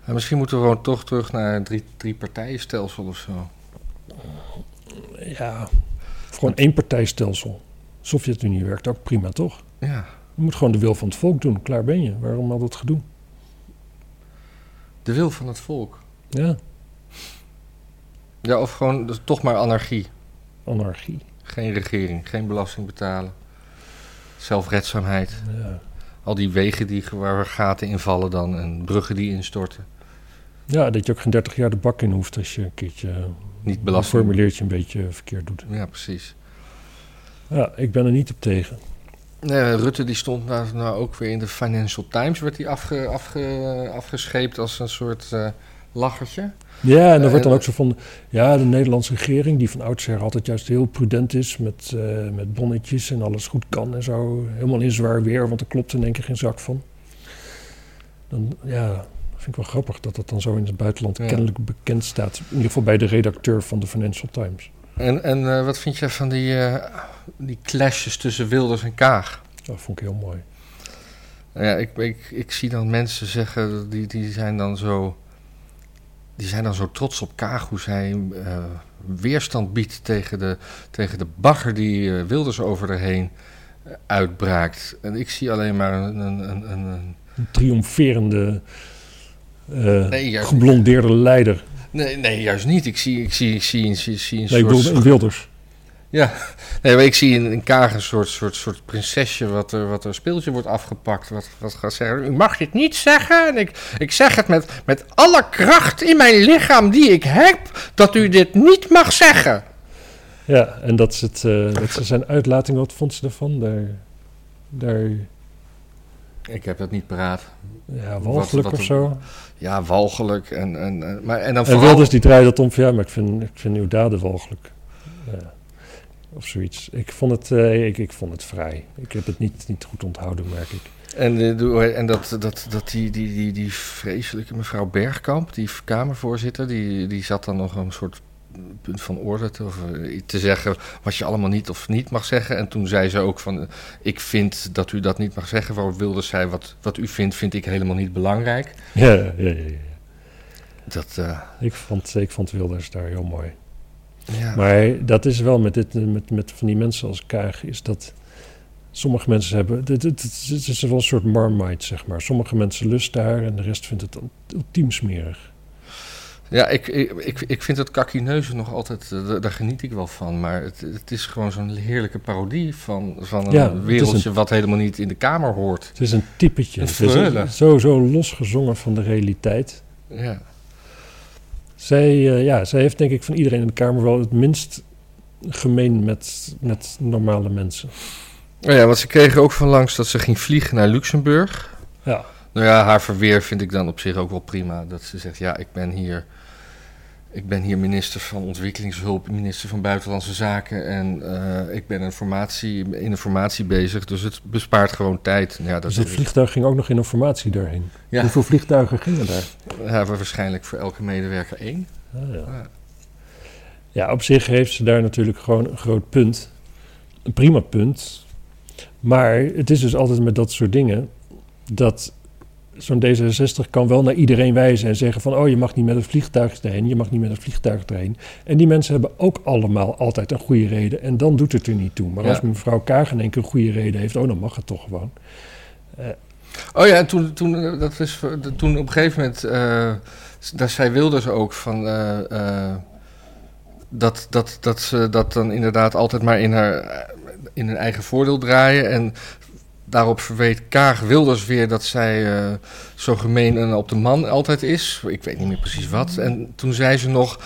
En misschien moeten we gewoon toch terug naar een drie, drie partijenstelsel of zo.
Ja. Of gewoon één partijstelsel. Sovjet-Unie werkt ook prima, toch?
Ja.
Je moet gewoon de wil van het volk doen. Klaar ben je. Waarom al dat gedoe?
De wil van het volk.
Ja,
Ja, of gewoon dus toch maar anarchie.
anarchie.
Geen regering, geen belasting betalen. Zelfredzaamheid.
Ja.
Al die wegen die, waar gaten invallen dan en bruggen die instorten.
ja, dat je ook geen 30 jaar de bak in hoeft als je een keertje eh,
Niet
een
belast.
formuliertje een beetje verkeerd doet.
Ja, precies.
Ja, ik ben er niet op tegen.
Nee, Rutte die stond nou, nou ook weer in de Financial Times, werd hij afge, afge, afgescheept als een soort eh, lachertje.
Ja, en
Eh,
dan wordt dan
en-
ook zo van, ja, de Nederlandse regering, die van oudsher altijd juist heel prudent is met, eh, met bonnetjes en alles goed kan en zo, helemaal in zwaar weer, want er klopt in één keer geen zak van. Dan, ja, vind ik wel grappig dat dat dan zo in het buitenland
Ja.
kennelijk bekend staat. In ieder geval bij de redacteur van de Financial Times.
En, en eh, wat vind jij van die, eh, die clashes tussen Wilders en Kaag?
Dat vond ik heel mooi.
Nou Ja, ik, ik, ik zie dan mensen zeggen, die, die, zijn dan zo, die zijn dan zo trots op Kaag, hoe zij eh, weerstand biedt tegen de, tegen de bagger die eh, Wilders over haar heen eh, uitbraakt. En ik zie alleen maar een, een, een, een- een
Een triomferende, eh,
Nee, juist niet.
geblondeerde leider.
Nee, nee, juist niet. Ik zie, ik zie, ik zie, ik zie, ik zie een
Nee, ik
soort...
bedoel, een Wilders.
Nee, maar ik zie in, in Kaag een soort, soort, soort prinsesje wat er, wat er een speeltje wordt afgepakt. Wat, wat gaat zeggen, u mag dit niet zeggen. En ik, ik zeg het met, met alle kracht in mijn lichaam die ik heb, dat u dit niet mag zeggen.
Ja, en dat is, het, eh, dat is zijn uitlating. Wat vond ze ervan? Daar, daar
Ik heb dat niet paraat.
Ja,
Wat-
walgelijk
wat
of
een-
zo.
Ja, walgelijk. En, en, en- maar, en dan
En
vooral...
Wilders die draait dat om van ja, maar ik vind, ik vind uw daden walgelijk. Ja. Of zoiets. Ik vond het, eh, ik, ik vond het vrij. Ik heb het niet, niet goed onthouden, merk ik.
En, eh, doe- en dat, dat, dat die, die, die, die vreselijke mevrouw Bergkamp, die Kamervoorzitter, die, die zat dan nog een soort punt van orde te, of, eh, te zeggen wat je allemaal niet of niet mag zeggen. En toen zei ze ook van, eh, ik vind dat u dat niet mag zeggen. Waarop Wilders zei, wat, wat u vindt, vind ik helemaal niet belangrijk.
Ja, ja, ja, ja, ja.
Dat, eh,
Ik, vond, ik vond Wilders daar heel mooi.
ja.
Maar dat is wel met, dit, met, met van die mensen als Kaag, is dat sommige mensen hebben. Het, het, het- het is wel een soort marmite, zeg maar. Sommige mensen lust daar en de rest vindt het ultiem smerig.
Ja, ik, ik, ik, ik vind dat kakineuzen nog altijd, eh, daar- daar geniet ik wel van. Maar het, het is gewoon zo'n heerlijke parodie van, van een
Ja, het is
wereldje wat helemaal niet in de Kamer hoort.
Het is een typetje.
Een
Het is
freule.
zo, zo losgezongen van de realiteit.
Ja.
Zij, eh, ja, zij heeft denk ik van iedereen in de Kamer wel het minst gemeen met, met normale mensen.
Nou ja, want ze kregen ook van langs dat ze ging vliegen naar Luxemburg.
Ja.
Nou ja, haar verweer vind ik dan op zich ook wel prima. Dat ze zegt, ja, ik ben hier, ik ben hier minister van ontwikkelingshulp, minister van buitenlandse zaken en eh, ik ben informatie, in informatie bezig. Dus het bespaart gewoon tijd. Ja, dat
dus dat
is
vliegtuig ging ook nog in informatie daarheen.
Ja.
Hoeveel vliegtuigen gingen daar?
hebben we waarschijnlijk voor elke medewerker één.
Ah, ja.
Ja.
ja, op zich heeft ze daar natuurlijk gewoon een groot punt. Een prima punt. Maar het is dus altijd met dat soort dingen dat zo'n D66 kan wel naar iedereen wijzen en zeggen van oh je mag niet met een vliegtuig erheen, je mag niet met een vliegtuig erheen. En die mensen hebben ook allemaal altijd een goede reden en dan doet het er niet toe. Maar
Ja.
als mevrouw Kaag in één keer een goede reden heeft, oh dan mag het toch gewoon.
Oh ja, en toen, toen, eh, dat is, eh, dat- toen op een gegeven moment, eh, s- daar zei Wilders ook van eh, eh, dat, dat, dat ze dat dan inderdaad altijd maar in, haar, eh, in hun eigen voordeel draaien. En daarop verweet Kaag Wilders weer dat zij eh, zo gemeen en op de man altijd is. Ik weet niet meer precies wat. En toen zei ze nog,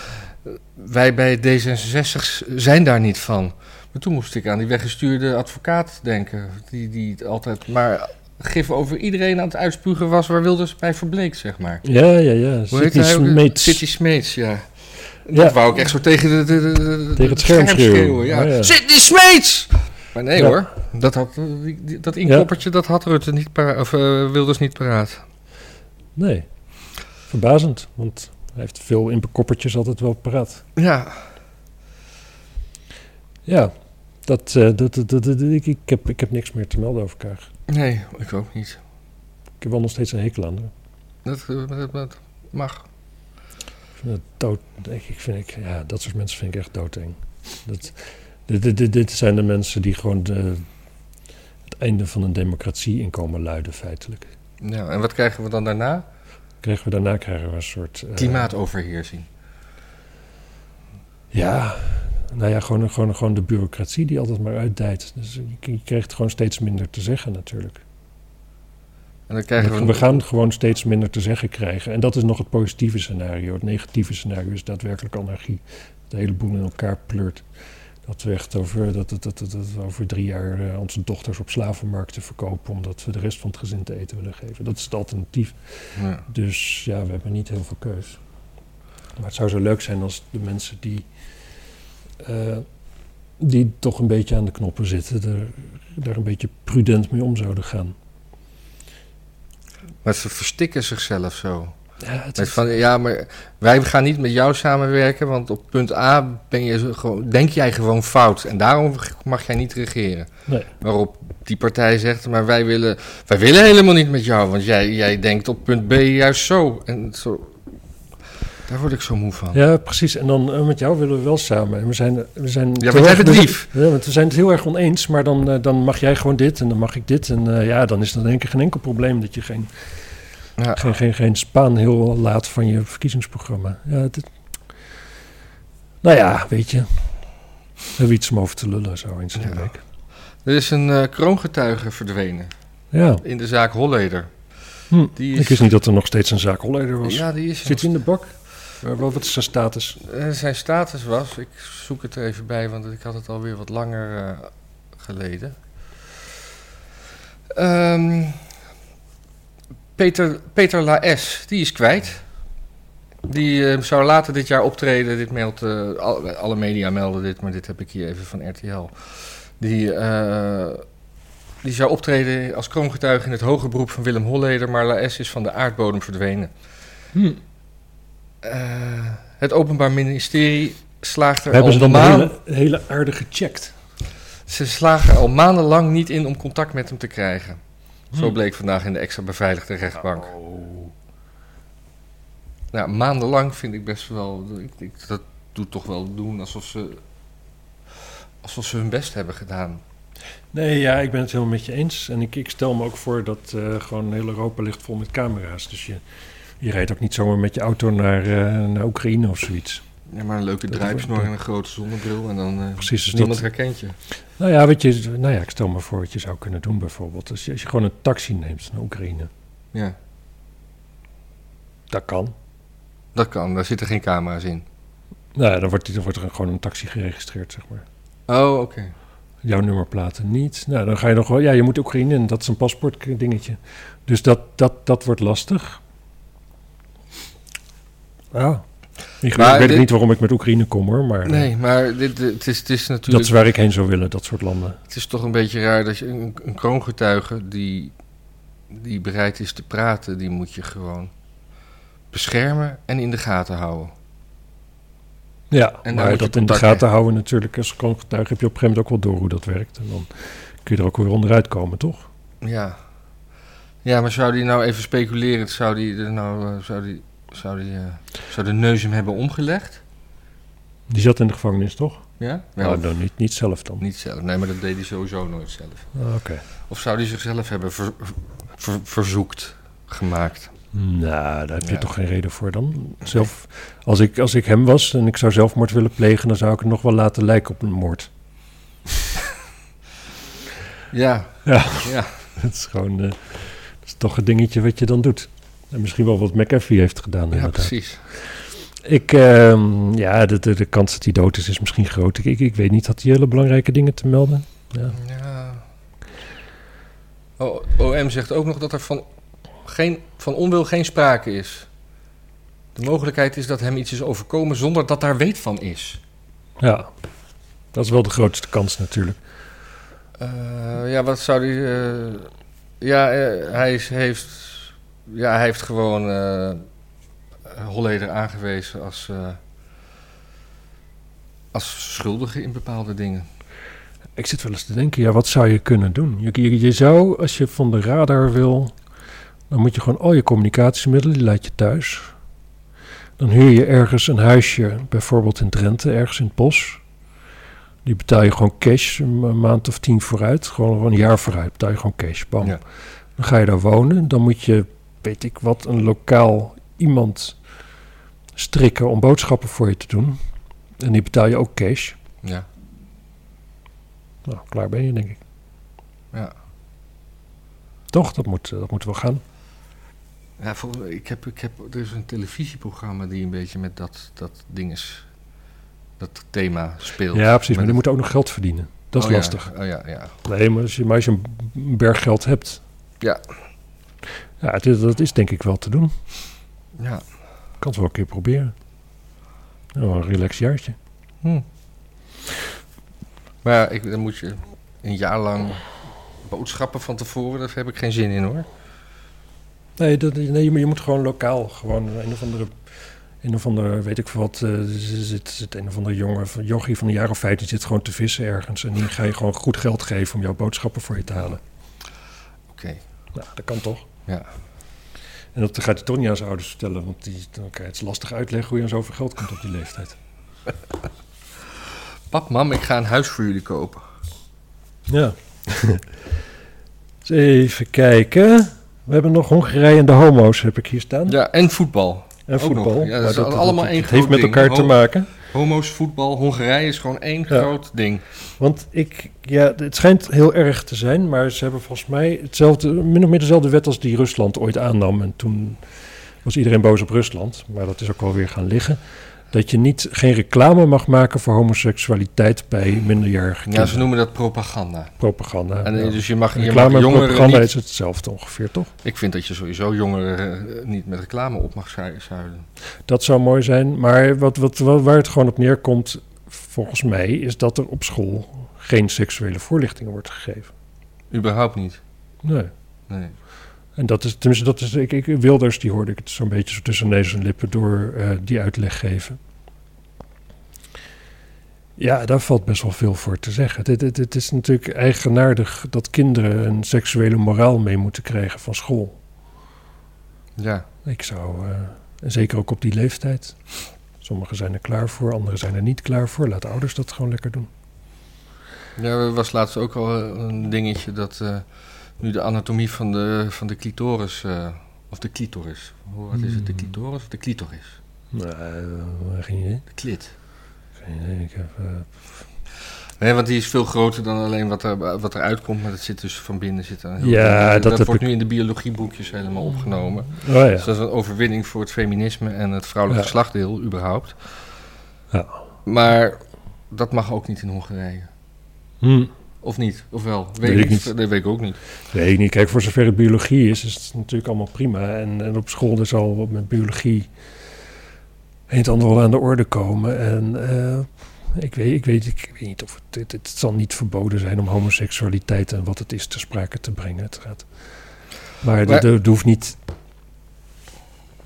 eh, wij bij D66 zijn daar niet van. Maar toen moest ik aan die weggestuurde advocaat denken, die, die het altijd maar gif over iedereen aan het uitspugen was waar Wilders bij verbleek, zeg maar.
Ja, ja, ja.
Hoe heet
Sidney
hij ook?
Smeets.
City Smeets, ja. Dat
Ja.
wou ik echt zo tegen, de, de- de- de-
het scherm schreeuwen, Oh,
ja.
ja, ja.
Sidney Smeets! Maar nee
Ja.
hoor, dat, had, eh, die- die- dat inkoppertje dat had Rutte niet para- of, eh, Wilders niet paraat.
Nee, verbazend, want hij heeft veel inpekoppertjes altijd wel paraat.
Ja,
Ja, dat, eh, dat, dat, dat- dat- ik, ik, heb, ik heb niks meer te melden over Kaag.
nee, ik ook niet.
Ik heb wel nog steeds een hekel aan haar.
Dat, eh, dat, dat mag.
Ik vind het dood, ik, ik vind ik, ja, dat soort mensen vind ik echt doodeng. Dat, dit, dit, dit, dit zijn de mensen die gewoon de, het einde van een democratie inkomen luiden, feitelijk.
Ja, en wat krijgen we dan daarna?
Krijgen we daarna krijgen we een soort... eh,
Klimaatoverheersing.
Ja, nou ja, gewoon, gewoon, gewoon de bureaucratie die altijd maar uitdijt. Dus je k- je krijgt gewoon steeds minder te zeggen natuurlijk.
En dan krijgen we...
we gaan gewoon steeds minder te zeggen krijgen. En dat is nog het positieve scenario. Het negatieve scenario is daadwerkelijk anarchie. De hele boel in elkaar pleurt. Dat we echt over, dat, dat, dat, dat, dat we over drie jaar eh, onze dochters op slavenmarkten verkopen... omdat we de rest van het gezin te eten willen geven. Dat is het alternatief.
Ja.
Dus ja, we hebben niet heel veel keus. Maar het zou zo leuk zijn als de mensen die, eh, die toch een beetje aan de knoppen zitten, er, daar een beetje prudent mee om zouden gaan.
Maar ze verstikken zichzelf zo.
Ja, het
Met
is,
van, ja, maar wij gaan niet met jou samenwerken, want op punt A ben je zo gewoon, denk jij gewoon fout. En daarom mag jij niet regeren.
nee,
Waarop die partij zegt, maar wij willen, wij willen helemaal niet met jou, want jij, jij denkt op punt B juist zo. En zo. Daar word ik zo moe van.
ja, precies. En dan eh, met jou willen we wel samen. En we zijn, eh, we zijn
Ja,
heel
want jij
erg
bent
be-
lief.
Ja, want we zijn het heel erg oneens, maar dan, eh, dan mag jij gewoon dit en dan mag ik dit. En eh, ja, dan is dat in één keer geen enkel probleem dat je geen,
Ja.
geen, geen, geen Spaan heel laat van je verkiezingsprogramma. Ja, het- nou ja, weet je. We hebben iets om over te lullen zo eens in de
Ja.
week.
Er is een eh, kroongetuige verdwenen
Ja,
in de zaak Holleder.
Hm,
Die
ik wist niet dat er nog steeds een zaak Holleder was.
Ja, die is er
Zit hij
nog
in de bak? Eh, wat wat is zijn status?
Eh, zijn status was, ik zoek het er even bij, want ik had het alweer wat langer eh, geleden. Ehm, Peter, Peter Laes, die is kwijt. Die eh, zou later dit jaar optreden. Dit meldt, eh, al- alle media melden dit, maar dit heb ik hier even van RTL. Die, eh, die zou optreden als kroongetuige in het hoger beroep van Willem Holleder, maar Laes is van de aardbodem verdwenen. Hm. Eh, het Openbaar Ministerie slaagt
We
er al
hebben ze dan de
maanden...
hele, hele aarde gecheckt.
Ze slagen er al maandenlang niet in om contact met hem te krijgen. Zo
Hmm.
bleek vandaag in de extra beveiligde rechtbank.
Oh.
Nou, maandenlang vind ik best wel... Ik, ik- dat doet toch wel doen alsof ze... Alsof ze hun best hebben gedaan.
Nee, ja, ik ben het helemaal met je eens. En ik, ik stel me ook voor dat eh, gewoon heel Europa ligt vol met camera's. Dus je, je rijdt ook niet zomaar met je auto naar, eh, naar Oekraïne of zoiets.
Ja, maar een leuke
Dat
druipsnor
wordt-
en een grote zonnebril en dan... eh,
Precies, dus
niemand
dat-
herkent je.
Nou ja, weet je, nou ja, ik stel me voor wat je zou kunnen doen bijvoorbeeld. Als je, als je gewoon een taxi neemt naar Oekraïne.
Ja,
Dat kan.
dat kan. Daar zitten geen camera's in.
Nou ja, dan wordt, die- dan wordt er gewoon een taxi geregistreerd, zeg maar.
Oh, oké.
Jouw nummerplaten niet. Nou, dan ga je nog wel... Ja, je moet Oekraïne en dat is een paspoortdingetje. Dus dat, dat, dat wordt lastig. Ja. Ik
Maar
weet ook
dit-
niet waarom ik met Oekraïne kom, hoor. Maar,
Nee, maar dit, dit- het, is, het is natuurlijk...
Dat is waar ik heen zou willen, dat soort landen.
Het is toch een beetje raar dat je een, een kroongetuige die, die bereid is te praten, die moet je gewoon beschermen en in de gaten houden.
Ja,
daar moet
maar
je
dat in de
contact
gaten houden natuurlijk. Als kroongetuige heb je op een gegeven moment ook wel door hoe dat werkt. En dan kun je er ook weer onderuit komen, toch?
Ja. Ja, maar zou die nou even speculeren, zou die er nou, eh, zou die, zou die, eh, zou de neus hem hebben omgelegd?
Die zat in de gevangenis, toch?
Ja?
Nou, dan niet, niet zelf dan.
Niet zelf. Nee, maar dat deed hij sowieso nooit zelf.
Ah, Oké.
Of zou die zichzelf hebben ver- ver- verzoekt gemaakt?
Nou, daar heb je
Ja.
toch geen reden voor dan? Zelf, als, ik, als ik hem was en ik zou zelfmoord willen plegen... dan zou ik het nog wel laten lijken op een moord.
Ja.
Ja.
ja.
Dat is gewoon... eh, dat is toch een dingetje wat je dan doet. En misschien wel wat McAfee heeft gedaan.
Ja,
inderdaad.
precies.
Ik, ehm, ja, de, de, de kans dat hij dood is, is misschien groot. Ik, ik, ik weet niet, had hij hele belangrijke dingen te melden? Ja.
Ja. O- OM zegt ook nog dat er van, geen, van onwil geen sprake is. De mogelijkheid is dat hem iets is overkomen zonder dat daar weet van is.
ja, dat is wel de grootste kans natuurlijk.
Eh, ja, wat zou die. eh, ja, eh, hij is, heeft. Ja, hij heeft gewoon eh Holleder aangewezen als. eh, als schuldige in bepaalde dingen.
Ik zit wel eens te denken, ja, wat zou je kunnen doen? Je, je, je zou, als je van de radar wil, dan moet je gewoon al je communicatiemiddelen, die laat je thuis. Dan huur je ergens een huisje, bijvoorbeeld in Drenthe, ergens in het bos. Die betaal je gewoon cash, een ma- maand of tien vooruit. Gewoon een jaar vooruit betaal je gewoon cash, bam.
Ja.
Dan ga je daar wonen. Dan moet je, weet ik wat, een lokaal iemand strikken om boodschappen voor je te doen. En die betaal je ook cash.
Ja.
Nou, klaar ben je, denk ik.
Ja.
Toch, dat moet, eh, dat moet wel gaan.
Ja, vol- ik heb, ik heb, er is een televisieprogramma die een beetje met dat, dat ding is. Dat thema speelt.
Ja, precies. Maar
Met-
die moeten ook nog geld verdienen. Dat is
Oh ja,
lastig.
Oh ja, ja.
Nee, maar als je, maar als je een berg geld hebt.
Ja.
Ja, het is- dat is denk ik wel te doen.
ja.
Ik kan het wel een keer proberen. Nou, een relax jaartje.
Hm. Maar ja, ik, dan moet je een jaar lang boodschappen van tevoren. Daar heb ik geen zin in hoor.
Nee, dat, nee, je moet- je moet gewoon lokaal. Gewoon een of andere, een of andere weet ik veel wat. eh, z- zit, zit een of andere jongen, van- jochie van een jaar of vijf, die zit gewoon te vissen ergens. En die ga je gewoon goed geld geven om jouw boodschappen voor je te halen.
Oké.
Nou, dat kan toch?
Ja.
En dat gaat hij toch niet aan zijn ouders vertellen, want die, dan kan je het lastig uitleggen hoe je aan zoveel geld komt op die leeftijd.
Pap, mam, ik ga een huis voor jullie kopen.
Ja. Eens even kijken. We hebben nog Hongarije en de homo's, heb ik hier staan.
Ja, en voetbal.
en
ook
voetbal. Nou,
nog. Ja, dat
Maar
is allemaal één
Het heeft
groot
met
ding.
elkaar te
Homo-
maken.
Homo's, voetbal, Hongarije is gewoon één groot ding.
Want ik, ja, het schijnt heel erg te zijn, maar ze hebben volgens mij hetzelfde, min of meer dezelfde wet als die Rusland ooit aannam. En toen was iedereen boos op Rusland, maar dat is ook wel weer gaan liggen. Dat je niet, geen reclame mag maken voor homoseksualiteit bij minderjarige
Ja, ze
kinderen.
noemen dat propaganda.
propaganda.
En,
ja.
eh, Dus je mag, je
reclame
mag
en
jongeren
propaganda
niet
is hetzelfde ongeveer, toch?
Ik vind dat je sowieso jongeren eh, niet met reclame op mag zui- zuilen.
Dat zou mooi zijn. Maar wat, wat, wa- waar het gewoon op neerkomt, volgens mij, is dat er op school geen seksuele voorlichting wordt gegeven.
Überhaupt niet.
Nee.
Nee.
En dat is, tenminste, dat is, ik, ik, Wilders, die hoorde ik het zo'n beetje zo tussen neus en lippen door eh, die uitleg geven. Ja, daar valt best wel veel voor te zeggen. Het, het, het is natuurlijk eigenaardig dat kinderen een seksuele moraal mee moeten krijgen van school.
Ja.
Ik zou, eh, en zeker ook op die leeftijd. Sommigen zijn er klaar voor, anderen zijn er niet klaar voor. Laat ouders dat gewoon lekker doen.
ja, er was laatst ook al eh, een dingetje dat eh, nu de anatomie van de, van de clitoris, eh, of de clitoris. Hoe- Wat is het, de
Hmm.
clitoris of de clitoris?
Nee, Nou, eh, geen idee.
De klit.
Geen idee. Ik heb, eh,
Nee, want die is veel groter dan alleen wat, er, wat eruit komt, maar dat zit dus van binnen. Zit dan heel
Ja,
dat,
dat heb
wordt
ik-
nu in de biologieboekjes helemaal opgenomen.
oh
Dus
ja.
dat is een overwinning voor het feminisme en het vrouwelijk
Ja.
geslachtdeel, überhaupt.
Ja.
Maar dat mag ook niet in Hongarije.
Hm.
Of niet? Of wel?
Weet ik niet.
Dat weet ik ook niet.
Nee, niet. Kijk, voor zover het biologie is, is het natuurlijk allemaal prima. En, en op school is al met biologie een en ander wel aan de orde komen. En eh, ik, weet, ik, weet, ik weet niet of het, het, het zal niet verboden zijn om homoseksualiteit en wat het is te sprake te brengen. Het gaat. Maar, het-
Maar-
het hoeft niet.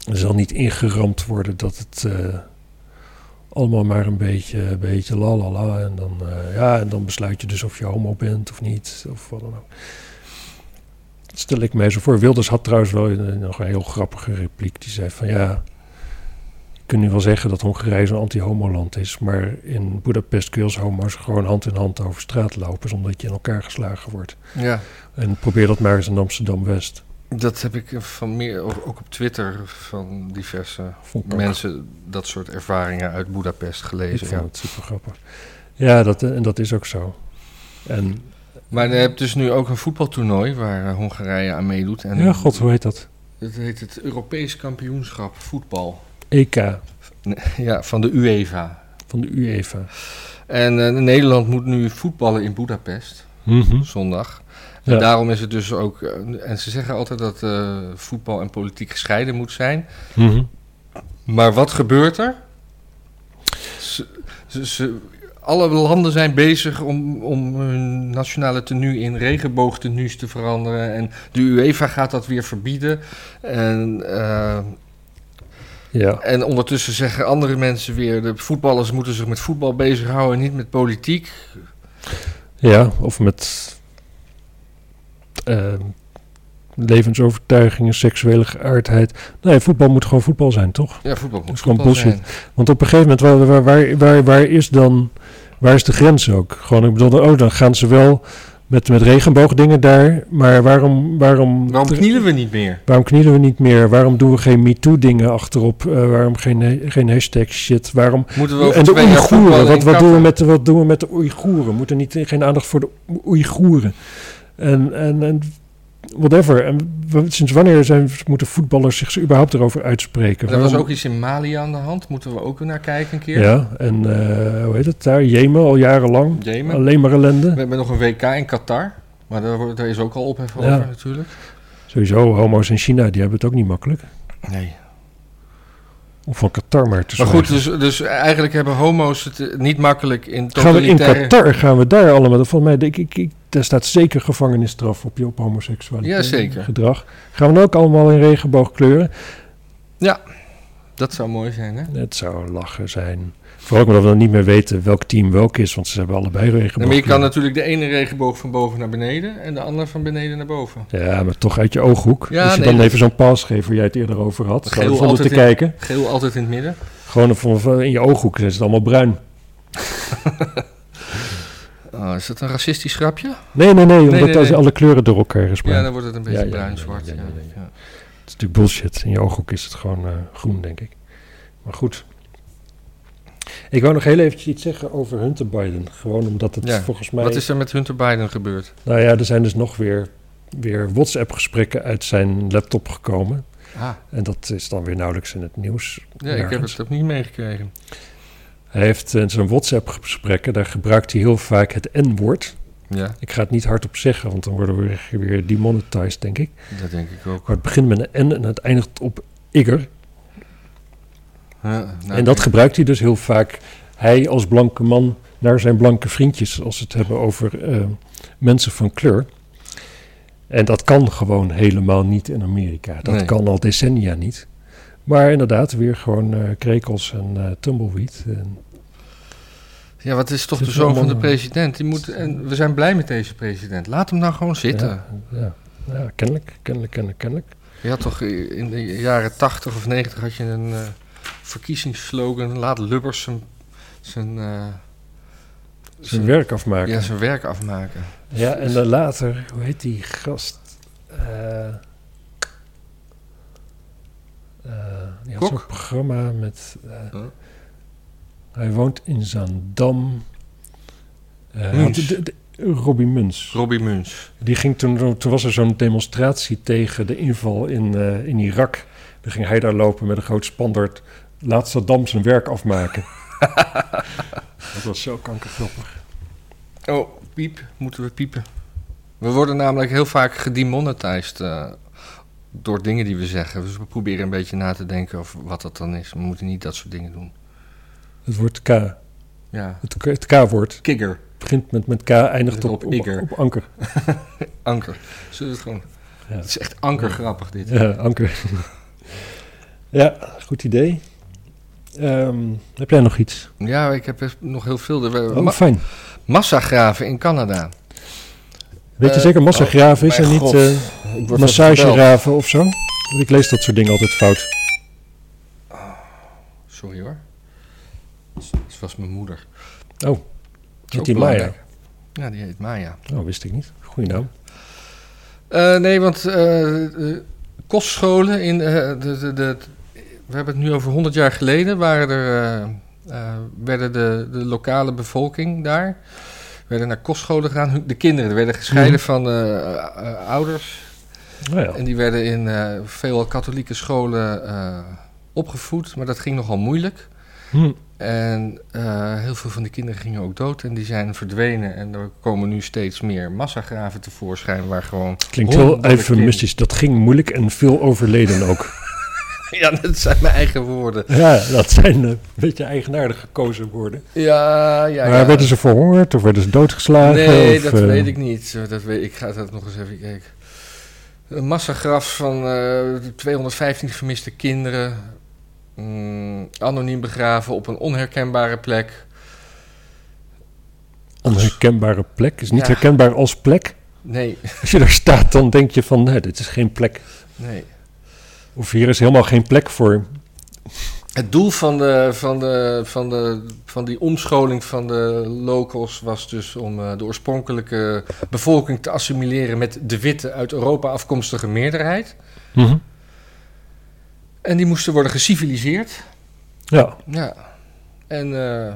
Er zal niet ingeramd worden dat het. eh, allemaal maar een beetje, een beetje la la la. En dan, eh, ja, en dan besluit je dus of je homo bent of niet, of wat dan ook. Dat stel ik mij zo voor. Wilders had trouwens wel een- nog een heel grappige repliek. Die zei van ja, je kunt nu wel zeggen dat Hongarije zo'n anti-homoland is. Maar in Budapest kun je als homo's gewoon hand in hand over straat lopen omdat je in elkaar geslagen wordt.
Ja,
En probeer dat maar eens in Amsterdam-West.
dat heb ik van meer, ook ook op Twitter van diverse
Vond ik ook
mensen dat soort ervaringen uit Boedapest
Ik
gelezen.
vond
Ja.
het super grappig. Ja, dat, eh, en dat is ook zo. En
Maar je hebt dus nu ook een voetbaltoernooi waar eh, Hongarije aan meedoet. En
ja, god, hoe heet dat?
Het heet het Europees Kampioenschap Voetbal.
EK.
Ja, van de UEFA.
E van de E UEFA.
En eh, Nederland moet nu voetballen in Boedapest,
Mhm.
zondag. En
Ja.
daarom is het dus ook... eh, En ze zeggen altijd dat eh, voetbal en politiek gescheiden moet zijn.
Mhm.
Maar wat gebeurt er? Ze, ze- ze- alle landen zijn bezig om, om hun nationale tenue in regenboogtenues te veranderen. En de UEFA gaat dat weer verbieden. En, eh,
Ja.
en ondertussen zeggen andere mensen weer... de voetballers moeten zich met voetbal bezighouden en niet met politiek.
ja, of met ehm, levensovertuigingen, seksuele geaardheid. Nee, voetbal moet gewoon voetbal zijn, toch?
Ja, voetbal
Dat
moet
is gewoon
voetbal
bullshit.
zijn.
Want op een gegeven moment, waar, waar, waar, waar, waar is dan... Waar is de grens ook? Gewoon, ik bedoel, oh, dan gaan ze wel met, met regenboogdingen daar. Maar waarom, waarom,
Waarom knielen we niet meer?
waarom knielen we niet meer? Waarom doen we geen MeToo-dingen achterop? Eh, waarom geen, he- geen hashtag shit? Waarom
Moeten we over
en de
twee jaar
Oeigoeren,
voetballen
wat,
in
wat, doen we
Qatar?
met, de- wat doen we met de Oeigoeren? Moet er niet, geen aandacht voor de Oeigoeren? En, en, en whatever. En w- sinds wanneer zijn, moeten voetballers zich überhaupt erover uitspreken?
Er was
Waarom-
ook iets in Mali aan de hand. Moeten we ook naar kijken een keer?
Ja, en eh, hoe heet het daar? Jemen, al jarenlang.
Jemen.
Alleen maar
We
ellende.
hebben nog een WK in Qatar. Maar daar, wordt- daar is ook al ophef over
Ja.
natuurlijk.
Sowieso, homo's in China, die hebben het ook niet makkelijk.
Nee.
Om van Qatar maar te
Maar
zwijgen.
goed, dus, dus eigenlijk hebben homo's het eh, niet makkelijk in
Gaan we in
totalitaire...
Qatar, gaan we daar allemaal... Volgens mij, denk ik, ik, daar staat zeker gevangenisstraf op, je op homoseksualiteit.
Jazeker.
Gedrag. Gaan we dan ook allemaal in regenboogkleuren?
Dat zou mooi zijn, hè?
Het zou lachen zijn. Vooral ook omdat we dan niet meer weten welk team welk is, want ze hebben allebei
Nee, maar je kan
regenboogkleuren.
natuurlijk de ene regenboog van boven naar beneden... en de andere van beneden naar boven.
Ja, maar toch uit je ooghoek.
Ja,
Als je
nee,
dan
dat-
even zo'n paas geeft waar jij het eerder over had.
Geel
Geel om te
altijd in-
kijken.
Geel altijd in het midden.
Gewoon van- van- in je ooghoek is het allemaal bruin.
Oh, is dat een racistisch grapje?
Nee, nee, nee, omdat
nee,
daar
nee.
alle kleuren door elkaar is
Ja,
bruin.
dan wordt het een beetje
Ja, ja,
bruin-zwart.
ja,
Ja,
ja, ja, ja. Het is natuurlijk bullshit. In je ooghoek is het gewoon eh, groen, denk ik. Maar goed. Ik wou nog heel eventjes iets zeggen over Hunter Biden. Gewoon omdat het
Ja,
volgens mij...
Wat is er met Hunter Biden gebeurd?
Nou ja, er zijn dus nog weer, weer WhatsApp-gesprekken uit zijn laptop gekomen.
Ah,
En dat is dan weer nauwelijks in het nieuws.
ja, ik heb
Nergens.
het ook niet meegekregen.
Hij heeft eh, in zijn WhatsApp-gesprekken, daar gebruikt hij heel vaak het N-woord.
Ja,
Ik ga het niet hardop zeggen, want dan worden we weer- weer demonetized, denk ik.
dat denk ik ook.
Maar het begint met een N en het eindigt op igger.
Ja, nou,
en dat
ik-
gebruikt hij dus heel vaak, hij als blanke man, naar zijn blanke vriendjes, als ze het hebben over eh, mensen van kleur. En dat kan gewoon helemaal niet in Amerika. Dat
Nee.
kan al decennia niet. Maar inderdaad, weer gewoon eh, krekels en eh, tumbleweed. En,
Ja, wat is toch
Het
de
is
zoon van de
allemaal-
president? Die moet, en we zijn blij met deze president. Laat hem nou gewoon zitten.
Ja, ja, ja, kennelijk, kennelijk, kennelijk, kennelijk.
Je had toch eh, in de jaren 80 of 90 had je een eh, verkiezingsslogan: laat Lubbers zijn, zijn, eh,
Zijn werk afmaken.
ja, zijn werk afmaken.
Ja, en dan later, hoe heet die gast? Eh, eh, die had
Kok?
zo'n programma met... eh,
Huh?
Hij woont in Zaandam. Eh,
Muns.
had de- de- Robbie Muns.
Robbie Muns.
Die ging toen, toen was er zo'n demonstratie tegen de inval in, eh, in Irak. Dan ging hij daar lopen met een groot spandard. Laat Saddam zijn werk afmaken. Dat was zo kankergrappig.
Oh, piep, moeten we piepen. We worden namelijk heel vaak gedemonetized eh, door dingen die we zeggen. Dus we proberen een beetje na te denken over wat dat dan is. We moeten niet dat soort dingen doen.
Het woord K.
Ja.
Het, K- het K-woord.
Kigger.
Begint met, met K, eindigt
Op
op, op,
Iker.
op anker.
Anker. Zullen we het gewoon...
Ja.
Het is echt ankergrappig dit.
Ja, anker. ja, goed idee. Ehm, heb jij nog iets?
Ja, ik heb best nog heel veel. Er waren
Oh,
Eh,
Eh,
ma-
fijn.
massagraven in Canada.
Weet je
Eh,
zeker, massagraven is
mijn
en niet
god.
eh,
Ik word gebeld.
massageraven of zo? Want Ik lees dat soort dingen altijd fout.
Sorry hoor. Het was mijn moeder.
Oh,
Is ook
die
belangrijk.
Maya?
Ja, die heet Maya.
Oh, wist ik niet. Goeie naam.
Eh, nee, want eh, eh, kostscholen in... eh, de, de, de, we hebben het nu over 100 jaar geleden. Waren er, eh, eh, werden de, de lokale bevolking daar... werden naar kostscholen gegaan. Hun- De kinderen werden gescheiden
Mhm.
van eh, eh, ouders.
Nou ja.
En die werden in eh, veel katholieke scholen eh, opgevoed. Maar dat ging nogal moeilijk.
Hm.
En eh, heel veel van de kinderen gingen ook dood en die zijn verdwenen. En er komen nu steeds meer massagraven tevoorschijn waar gewoon...
Klinkt heel
Honderden
eufemistisch. Dat ging moeilijk en veel overleden ook.
Ja, dat zijn mijn eigen woorden.
ja, dat zijn eh, een beetje eigenaardig gekozen woorden.
Ja, ja,
maar
ja.
werden ze verhoord of werden ze doodgeslagen?
Nee,
of,
dat
eh,
weet ik niet. Dat weet, ik ga dat nog eens even kijken. Een massagraf van eh, 215 vermiste kinderen. Mm, anoniem begraven op een onherkenbare plek.
Onherkenbare plek. Is niet
Ja.
herkenbaar als plek.
Nee,
Als je daar staat, dan denk je van, nee, dit is geen plek.
nee.
Of hier is helemaal geen plek voor.
Het doel van, de, van, de, van, de, van die omscholing van de locals was dus om eh, de oorspronkelijke bevolking te assimileren met de witte uit Europa afkomstige meerderheid.
Mhm.
En die moesten worden geciviliseerd.
Ja,
Ja. En eh,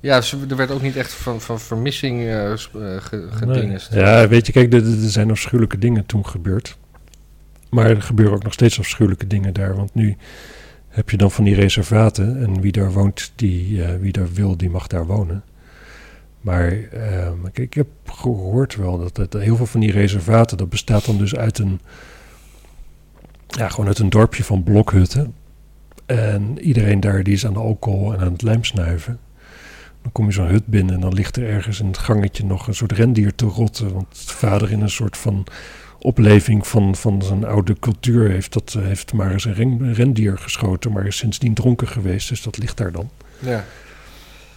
ja, ze- er werd ook niet echt van, van vermissing eh sp- eh, ge- gedingest.
Nee. Ja, weet je, kijk, er, er zijn afschuwelijke dingen toen gebeurd. Maar er gebeuren ook nog steeds afschuwelijke dingen daar. Want nu heb je dan van die reservaten. En wie daar woont, die, eh, wie daar wil, die mag daar wonen. Maar ehm, ik, ik heb gehoord wel dat, het- heel veel van die reservaten... dat bestaat dan dus uit een... Ja, gewoon uit een dorpje van blokhutten. En iedereen daar die is aan de alcohol en aan het lijmsnuiven. Dan kom je zo'n hut binnen en dan ligt er ergens in het gangetje nog een soort rendier te rotten. Want het vader in een soort van opleving van, van zijn oude cultuur heeft, dat, eh, heeft maar eens een ren- rendier geschoten, maar is sindsdien dronken geweest. Dus dat ligt daar dan.
Ja.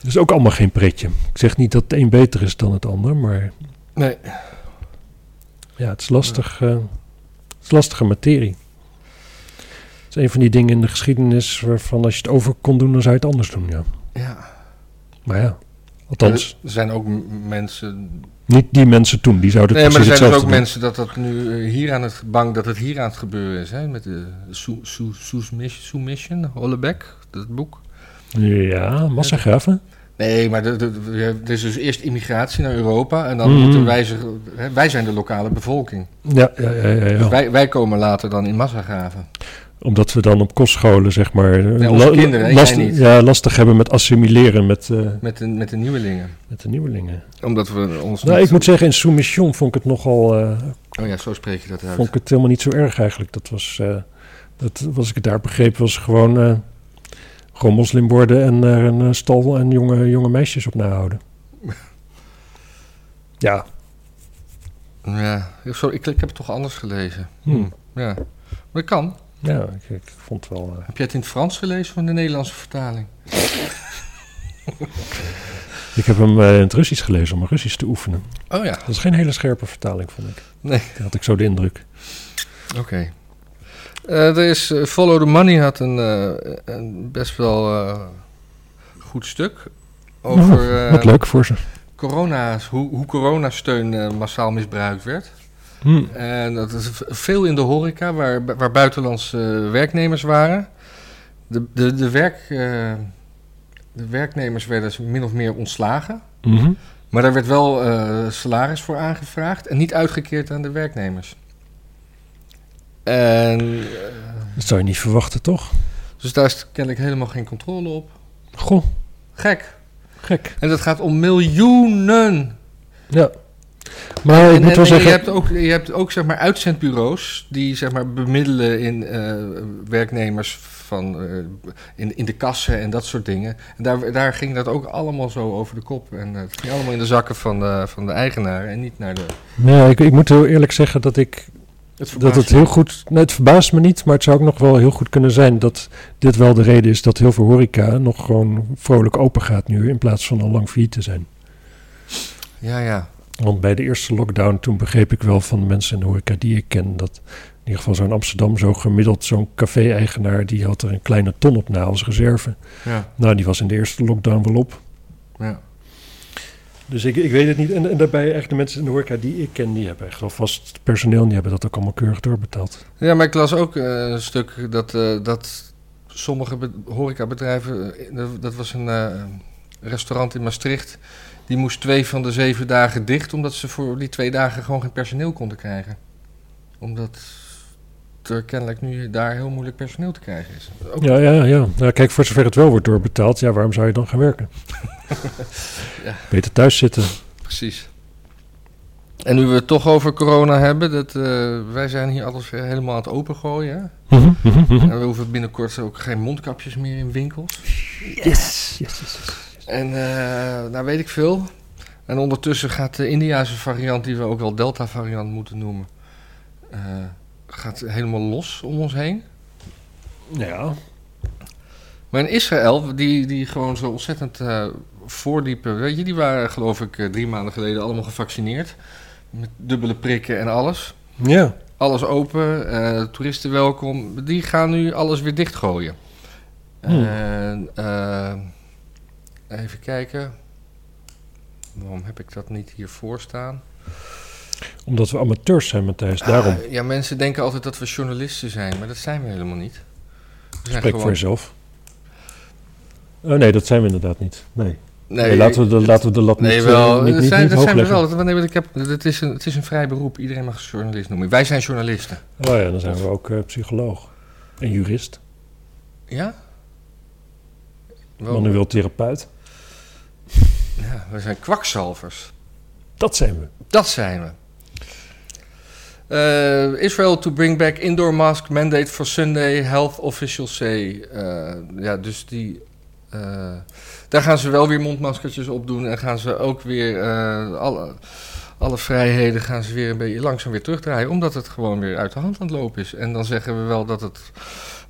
Dus ook allemaal geen pretje. Ik zeg niet dat het een beter is dan het ander, maar
Nee.
ja, het is lastig. eh, het is lastige materie. Het is een van die dingen in de geschiedenis waarvan als je het over kon doen, dan zou je het anders doen, ja.
Ja.
Maar ja, althans,
Er zijn ook m- mensen
niet die mensen toen, die zouden het
nee, maar er
precies
zijn dus ook
hetzelfde doen.
mensen dat dat nu eh, hier aan het bang dat het hier aan het gebeuren is. Hè? Met de Sou- Sou- Soumission, Soumission, Hollebeck, dat boek.
Ja, massagraven.
Nee, maar de- de- de- er is dus eerst immigratie naar Europa en dan
Mhm.
moeten wij zich. hè, Wij zijn de lokale bevolking.
Ja, ja, ja, ja, ja.
Dus wij, wij komen later dan in massagraven.
Omdat we dan op kostscholen, zeg maar,
onze
la-
kinderen, ik
last-
jij niet.
ja, lastig hebben met assimileren met, eh,
Met de, met de nieuwelingen.
met de nieuwelingen.
Omdat we ons.
Nou,
niet-
ik moet zeggen, in Soumission vond ik het nogal, eh,
Oh ja, zo spreek je dat uit.
vond ik het helemaal niet zo erg eigenlijk. Dat was, eh, dat, was ik het daar begreep, was gewoon, eh gewoon moslim worden en er een eh, stal en jonge, jonge meisjes op nahouden. Ja,
Ja, sorry, ik, ik heb het toch anders gelezen.
Hmm.
Ja, maar dat kan.
ja ik, ik vond het wel... eh,
Heb jij het in het Frans gelezen of in de Nederlandse vertaling?
ik heb hem eh, in het Russisch gelezen om mijn Russisch te oefenen.
Oh ja,
Dat is geen hele scherpe vertaling, vond ik.
Nee.
Daar had ik zo de indruk.
oké. Eh, er is, eh, Follow the Money had een, eh, een best wel eh, goed stuk over eh,
Oh, Wat leuk voor ze.
corona's, hoe, hoe coronasteun eh, massaal misbruikt werd.
Hm,
En dat is v- veel in de horeca, waar, waar buitenlandse eh, werknemers waren. De, de, de, werk, eh, de werknemers werden dus min of meer ontslagen.
Mhm.
Maar daar werd wel eh, salaris voor aangevraagd en niet uitgekeerd aan de werknemers. En, eh,
Dat zou je niet verwachten, toch?
dus daar is kennelijk helemaal geen controle op.
Goh,
Gek.
gek.
En dat gaat om miljoenen.
Ja. Maar ik
en,
moet wel
en je,
zeggen...
hebt ook, je hebt ook zeg maar uitzendbureaus die zeg maar bemiddelen in eh, werknemers van, eh, in, in de kassen en dat soort dingen. En daar, daar ging dat ook allemaal zo over de kop. En eh, het ging allemaal in de zakken van de, van de eigenaren en niet naar de.
Nee, ik, ik moet heel eerlijk zeggen dat ik...
Het
Dat het heel goed... Nee, het verbaast me niet, maar het zou ook nog wel heel goed kunnen zijn... dat dit wel de reden is dat heel veel horeca nog gewoon vrolijk open gaat nu... in plaats van al lang failliet te zijn.
Ja, ja.
Want bij de eerste lockdown, toen begreep ik wel van de mensen in de horeca die ik ken... dat in ieder geval zo'n Amsterdam, zo gemiddeld zo'n café-eigenaar... die had er een kleine ton op na als reserve.
Ja,
Nou, die was in de eerste lockdown wel op.
ja.
Dus ik, ik weet het niet. En, en daarbij eigenlijk de mensen in de horeca die ik ken, die hebben echt wel vast personeel. en Die hebben dat ook allemaal keurig doorbetaald.
ja maar ik las ook eh, een stuk dat, eh, dat sommige be- horecabedrijven... eh, dat- dat was een eh, restaurant in Maastricht... die moest twee van de zeven dagen dicht... omdat ze voor die twee dagen gewoon geen personeel konden krijgen. Omdat er kennelijk nu daar heel moeilijk personeel te krijgen is. Ook-
Ja, ja, ja. Nou, kijk, voor zover het wel wordt doorbetaald, ja, waarom zou je dan gaan werken?
Ja.
Beter thuis zitten.
Precies. En nu we het toch over corona hebben... Dat, eh, wij zijn hier alles weer helemaal aan het opengooien. hè?
Mhm, mhm, mhm.
En we hoeven binnenkort ook geen mondkapjes meer in winkels.
Yes. yes, yes, yes.
En eh nou weet ik veel. En ondertussen gaat de Indiase variant, die we ook wel Delta variant moeten noemen, eh, gaat helemaal los om ons heen.
Ja.
Maar in Israël, die, die gewoon zo ontzettend eh, voorliepen, weet je, die waren geloof ik eh, drie maanden geleden allemaal gevaccineerd. Met dubbele prikken en alles.
Ja.
Alles open, eh, toeristen welkom. Die gaan nu alles weer dichtgooien.
Hmm.
En, eh, even kijken. Waarom heb ik dat niet hiervoor staan?
Omdat we amateurs zijn, Matthijs. Dus Daarom,
Ah, ja, mensen denken altijd dat we journalisten zijn, maar dat zijn we helemaal niet. We zijn
spreek voor jezelf. Oh nee, dat zijn we inderdaad niet. Nee,
Nee,
Nee, laten, we de, laten we de lat
nee,
niet,
wel.
eh, niet,
dat
niet,
zijn,
niet
dat
hoog
zijn we
leggen.
wel. Dat- nee, want ik heb, dat is een, het is een vrij beroep. Iedereen mag journalist noemen. Wij zijn journalisten.
Oh ja, dan zijn we ook eh, psycholoog. En jurist.
Ja? Wel-
Manueel therapeut.
ja, we zijn kwakzalvers.
Dat zijn we.
Dat zijn we. Eh, Israel to bring back indoor mask mandate for Sunday, health officials say. Eh, ja, dus die. eh, daar gaan ze wel weer mondmaskertjes op doen en gaan ze ook weer eh, alle, alle vrijheden gaan ze weer een beetje langzaam weer terugdraaien, omdat het gewoon weer uit de hand aan het lopen is. En dan zeggen we wel dat het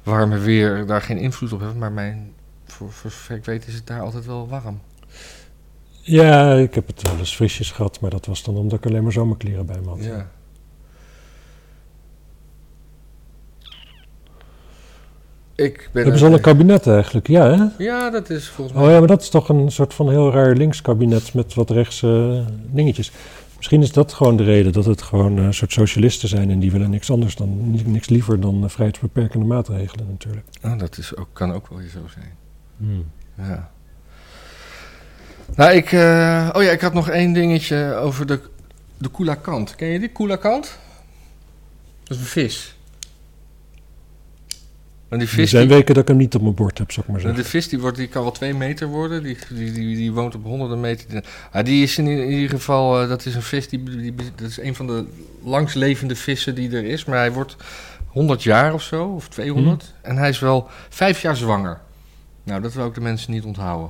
warme weer daar geen invloed op heeft, maar mijn, voor, voor zover ik weet is het daar altijd wel warm.
Ja, ik heb het wel eens frisjes gehad, maar dat was dan omdat ik alleen maar zomerkleren bij me had.
Ja. Ik ben
Hebben ze al een kabinet eigenlijk? Ja, hè?
Ja, dat is volgens mij.
Oh ja, maar dat is toch een soort van heel raar links kabinet met wat rechtse eh, dingetjes. Misschien is dat gewoon de reden dat het gewoon eh, een soort socialisten zijn en die willen niks anders dan, ni- niks liever dan eh, vrijheidsbeperkende maatregelen natuurlijk.
Oh, dat is ook, kan ook wel weer zo zijn. Ja. Nou, ik. eh, oh ja, ik had nog één dingetje over de, de koelakant. Ken je die koelakant? Dat is een vis. En die
Er
vis.
zijn
die-
weken dat ik hem niet op mijn bord heb, zou ik maar
Nou,
zeggen.
De vis die, wordt, die kan wel twee meter worden. Die, die, die, die woont op honderden meter. Ah, die is in, i- in ieder geval, eh, dat is een vis, die, die, die- dat is een van de langstlevende vissen die er is. Maar hij wordt 100 jaar of zo, of 200. En hij is wel vijf jaar zwanger. Nou, dat wil ook de mensen niet onthouden.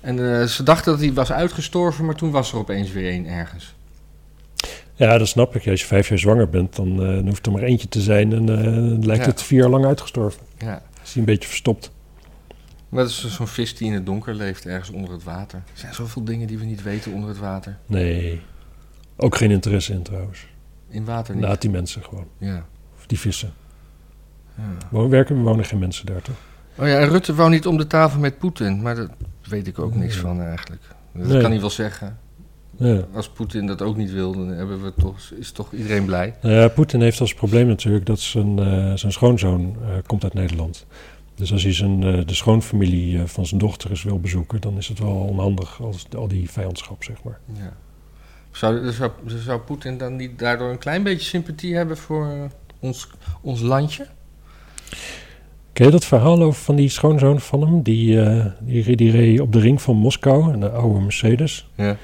En eh, ze dachten dat hij was uitgestorven, maar toen was er opeens weer één ergens.
Ja, dat snap ik. Ja, Als je vijf jaar zwanger bent, dan, eh, dan hoeft er maar eentje te zijn en eh, dan lijkt
Ja.
het vier jaar lang uitgestorven.
Ja.
Is hij een beetje verstopt.
Maar dat is dus zo'n vis die in het donker leeft, ergens onder het water. Er zijn zoveel dingen die we niet weten onder het water.
Nee, ook geen interesse in trouwens.
In water niet.
Laat die mensen gewoon,
Ja.
of die vissen.
ja.
Woon- Werken, wonen geen mensen daar toch?
Oh ja, en Rutte wou niet om de tafel met Poetin, maar daar weet ik ook niks
Nee.
van eigenlijk. Dat
Nee.
kan hij wel zeggen.
Ja.
Als Poetin dat ook niet wil, dan hebben we toch, is toch iedereen blij.
Nou ja, Poetin heeft als probleem natuurlijk dat zijn, eh, zijn schoonzoon eh, komt uit Nederland. Dus als hij zijn, eh, de schoonfamilie eh, van zijn dochter eens wil bezoeken, dan is het wel onhandig als al die vijandschap, zeg maar.
Ja. Zou, zou, zou Poetin dan niet daardoor een klein beetje sympathie hebben voor eh, ons, ons landje?
Ken je dat verhaal over van die schoonzoon van hem? Die, eh, die, re- die reed op de ring van Moskou, een oude Mercedes.
Ja.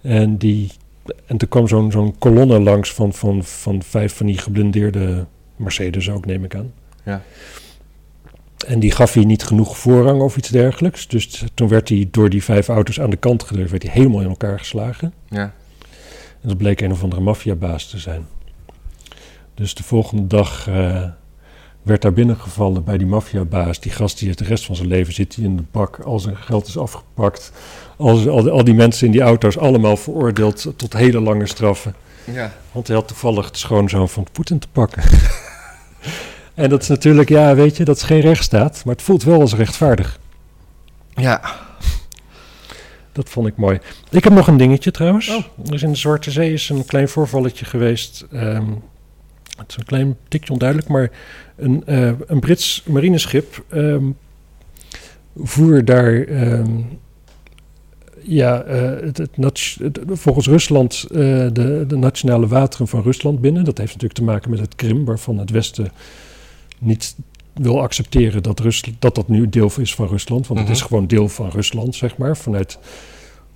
En, die, en toen kwam zo'n zo'n kolonne langs van, van, van vijf van die geblindeerde Mercedes ook, neem ik aan.
Ja.
En die gaf hij niet genoeg voorrang of iets dergelijks. Dus t- toen werd hij door die vijf auto's aan de kant gedrukt, werd hij helemaal in elkaar geslagen.
Ja.
En dat bleek een of andere maffiabaas te zijn. Dus de volgende dag eh, werd daar binnengevallen bij die maffiabaas. Die gast die het de rest van zijn leven zit hij in de bak. Al zijn geld is afgepakt. Al, al, al die mensen in die auto's allemaal veroordeeld tot hele lange straffen.
ja.
Want hij had toevallig de schoonzoon van Poetin te pakken. en dat is natuurlijk, ja weet je, dat is geen rechtsstaat. Maar het voelt wel als rechtvaardig.
Ja.
Dat vond ik mooi. Ik heb nog een dingetje trouwens. Er is in de Zwarte Zee is een klein voorvalletje geweest. Ehm, het is een klein tikje onduidelijk, maar een, eh, een Brits marineschip ehm, voer daar. ehm, ja, eh, het, het nat- het- volgens Rusland eh, de, de nationale wateren van Rusland binnen. Dat heeft natuurlijk te maken met het Krim, waarvan het Westen niet wil accepteren dat Rus, dat, dat nu deel is van Rusland. Want het
Mhm.
is gewoon deel van Rusland, zeg maar. Vanuit,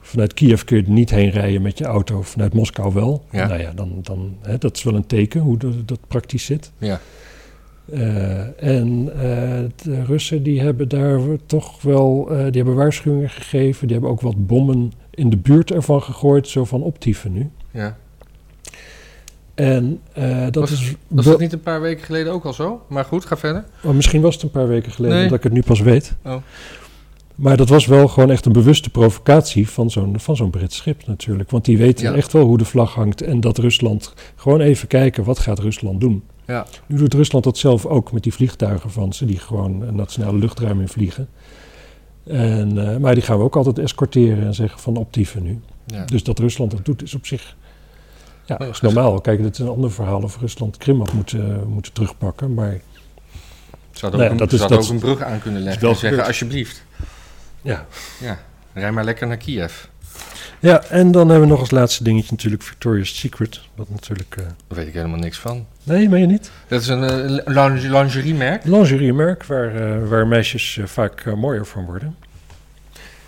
vanuit Kiev kun je er niet heen rijden met je auto, vanuit Moskou wel.
Ja.
Nou ja, dan, dan, hè, dat is wel een teken hoe dat, dat praktisch zit.
Ja.
Eh, en eh, de Russen die hebben daar toch wel, eh, die hebben waarschuwingen gegeven. Die hebben ook wat bommen in de buurt ervan gegooid, zo van optieven nu.
ja.
En eh, dat
Was-
is...
Was dat niet een paar weken geleden ook al zo? Maar goed, ga verder.
Oh, misschien was het een paar weken geleden,
Nee.
omdat ik het nu pas weet.
Oh.
Maar dat was wel gewoon echt een bewuste provocatie van zo'n, van zo'n Brits schip natuurlijk. Want die weten
Ja.
echt wel hoe de vlag hangt en dat Rusland... Gewoon even kijken, wat gaat Rusland doen?
Ja.
Nu doet Rusland dat zelf ook met die vliegtuigen van ze, die gewoon het nationale luchtruim in vliegen. En, eh, maar die gaan we ook altijd escorteren en zeggen van optieven nu.
ja. Nou,
Dus dat Rusland dat doet is op zich ja,
Maar-
is normaal. Kijk, dat is een ander verhaal of Rusland Krim had moeten, moeten terugpakken. Maar
Ze hadden
Nee,
ook, een,
dat
ze
is-
hadden
dat
ook een brug aan kunnen leggen
wel
en zeggen,
gebeurd.
alsjeblieft,
ja.
rij maar lekker naar Kiev.
ja, en dan hebben we nog als laatste dingetje natuurlijk Victoria's Secret. Wat natuurlijk... eh,
Daar weet ik helemaal niks van.
nee, meen je niet?
Dat is een eh, linge- lingeriemerk.
Lingeriemerk, waar, eh, waar meisjes eh, vaak eh, mooier van worden.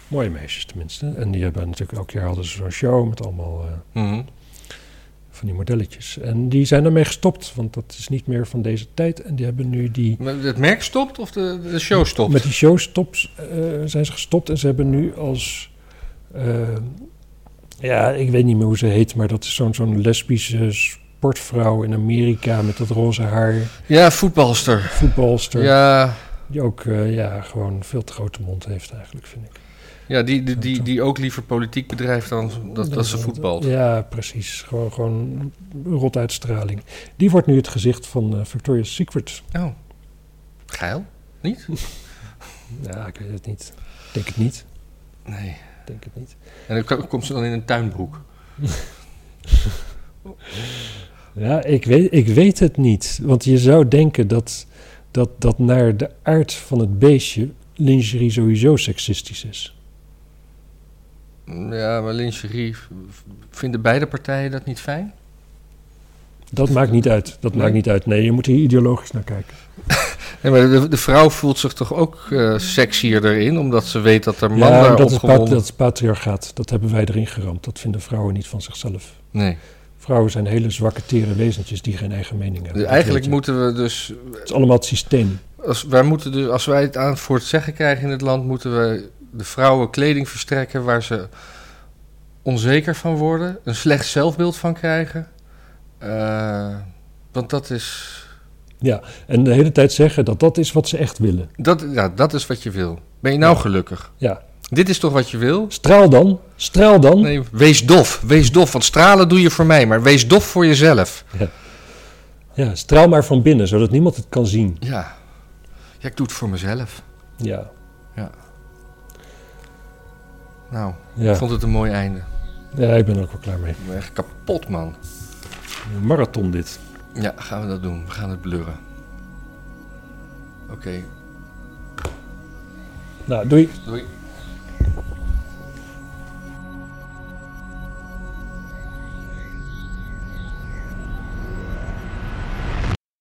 Mooie meisjes tenminste. En die hebben natuurlijk elk jaar hadden ze zo'n show met allemaal... eh,
Mhm.
van die modelletjes. En die zijn daarmee gestopt, want dat is niet meer van deze tijd. En die hebben nu die...
Maar Het merk stopt of de, de show stopt?
Met die showstops eh zijn ze gestopt en ze hebben nu als... eh, ja, ik weet niet meer hoe ze heet, maar dat is zo'n zo'n lesbische sportvrouw in Amerika... met dat roze haar,
Ja, voetbalster.
voetbalster,
Ja,
die ook eh, ja, gewoon veel te grote mond heeft eigenlijk, vind ik.
ja die, die, die, die ook liever politiek bedrijft dan dat, dat ze voetbalt.
Ja, precies. Gewoon, gewoon rot uitstraling. Die wordt nu het gezicht van eh, Victoria's Secret.
Oh, geil? Niet?
Ja, ik weet het niet. Ik denk het niet.
Nee.
Ik denk het niet.
En dan ko- komt ze dan in een tuinbroek.
Ja, ik weet, ik weet het niet. Want je zou denken dat, dat, dat naar de aard van het beestje lingerie sowieso seksistisch is.
Ja, maar lingerie, v- vinden beide partijen dat niet fijn?
Dat maakt niet uit. Dat
Nee.
maakt niet uit. Nee, je moet hier ideologisch naar kijken.
Nee, maar de, de vrouw voelt zich toch ook eh sexier erin, omdat ze weet dat haar man
ja,
daar
dat is, pat-
opgewonden...
dat is patriarchaat. Dat hebben wij erin geramd. Dat vinden vrouwen niet van zichzelf.
Nee,
Vrouwen zijn hele zwakke, tere wezentjes die geen eigen mening hebben.
dus
Dat
eigenlijk
weet je.
moeten we dus
Het is allemaal het systeem.
Als wij, moeten dus, als wij het aan voor het zeggen krijgen in het land, moeten we de vrouwen kleding verstrekken waar ze onzeker van worden, een slecht zelfbeeld van krijgen. Eh, want dat is,
En de hele tijd zeggen dat dat is wat ze echt willen.
dat, ja, dat is wat je wil. Ben je nou gelukkig?
Ja.
Dit is toch wat je wil?
Straal dan. Straal dan.
Nee, wees dof, wees dof. Want stralen doe je voor mij, maar wees dof voor jezelf.
Ja, straal maar van binnen, zodat niemand het kan zien.
Ja, ja ik doe het voor mezelf.
Ja.
Nou, ik
Ja.
vond het een mooi einde.
ja, ik ben er ook wel klaar mee.
Ik ben echt kapot, man.
Een marathon dit.
Ja, gaan we dat doen. We gaan het blurren. Oké,
Nou, doei.
doei.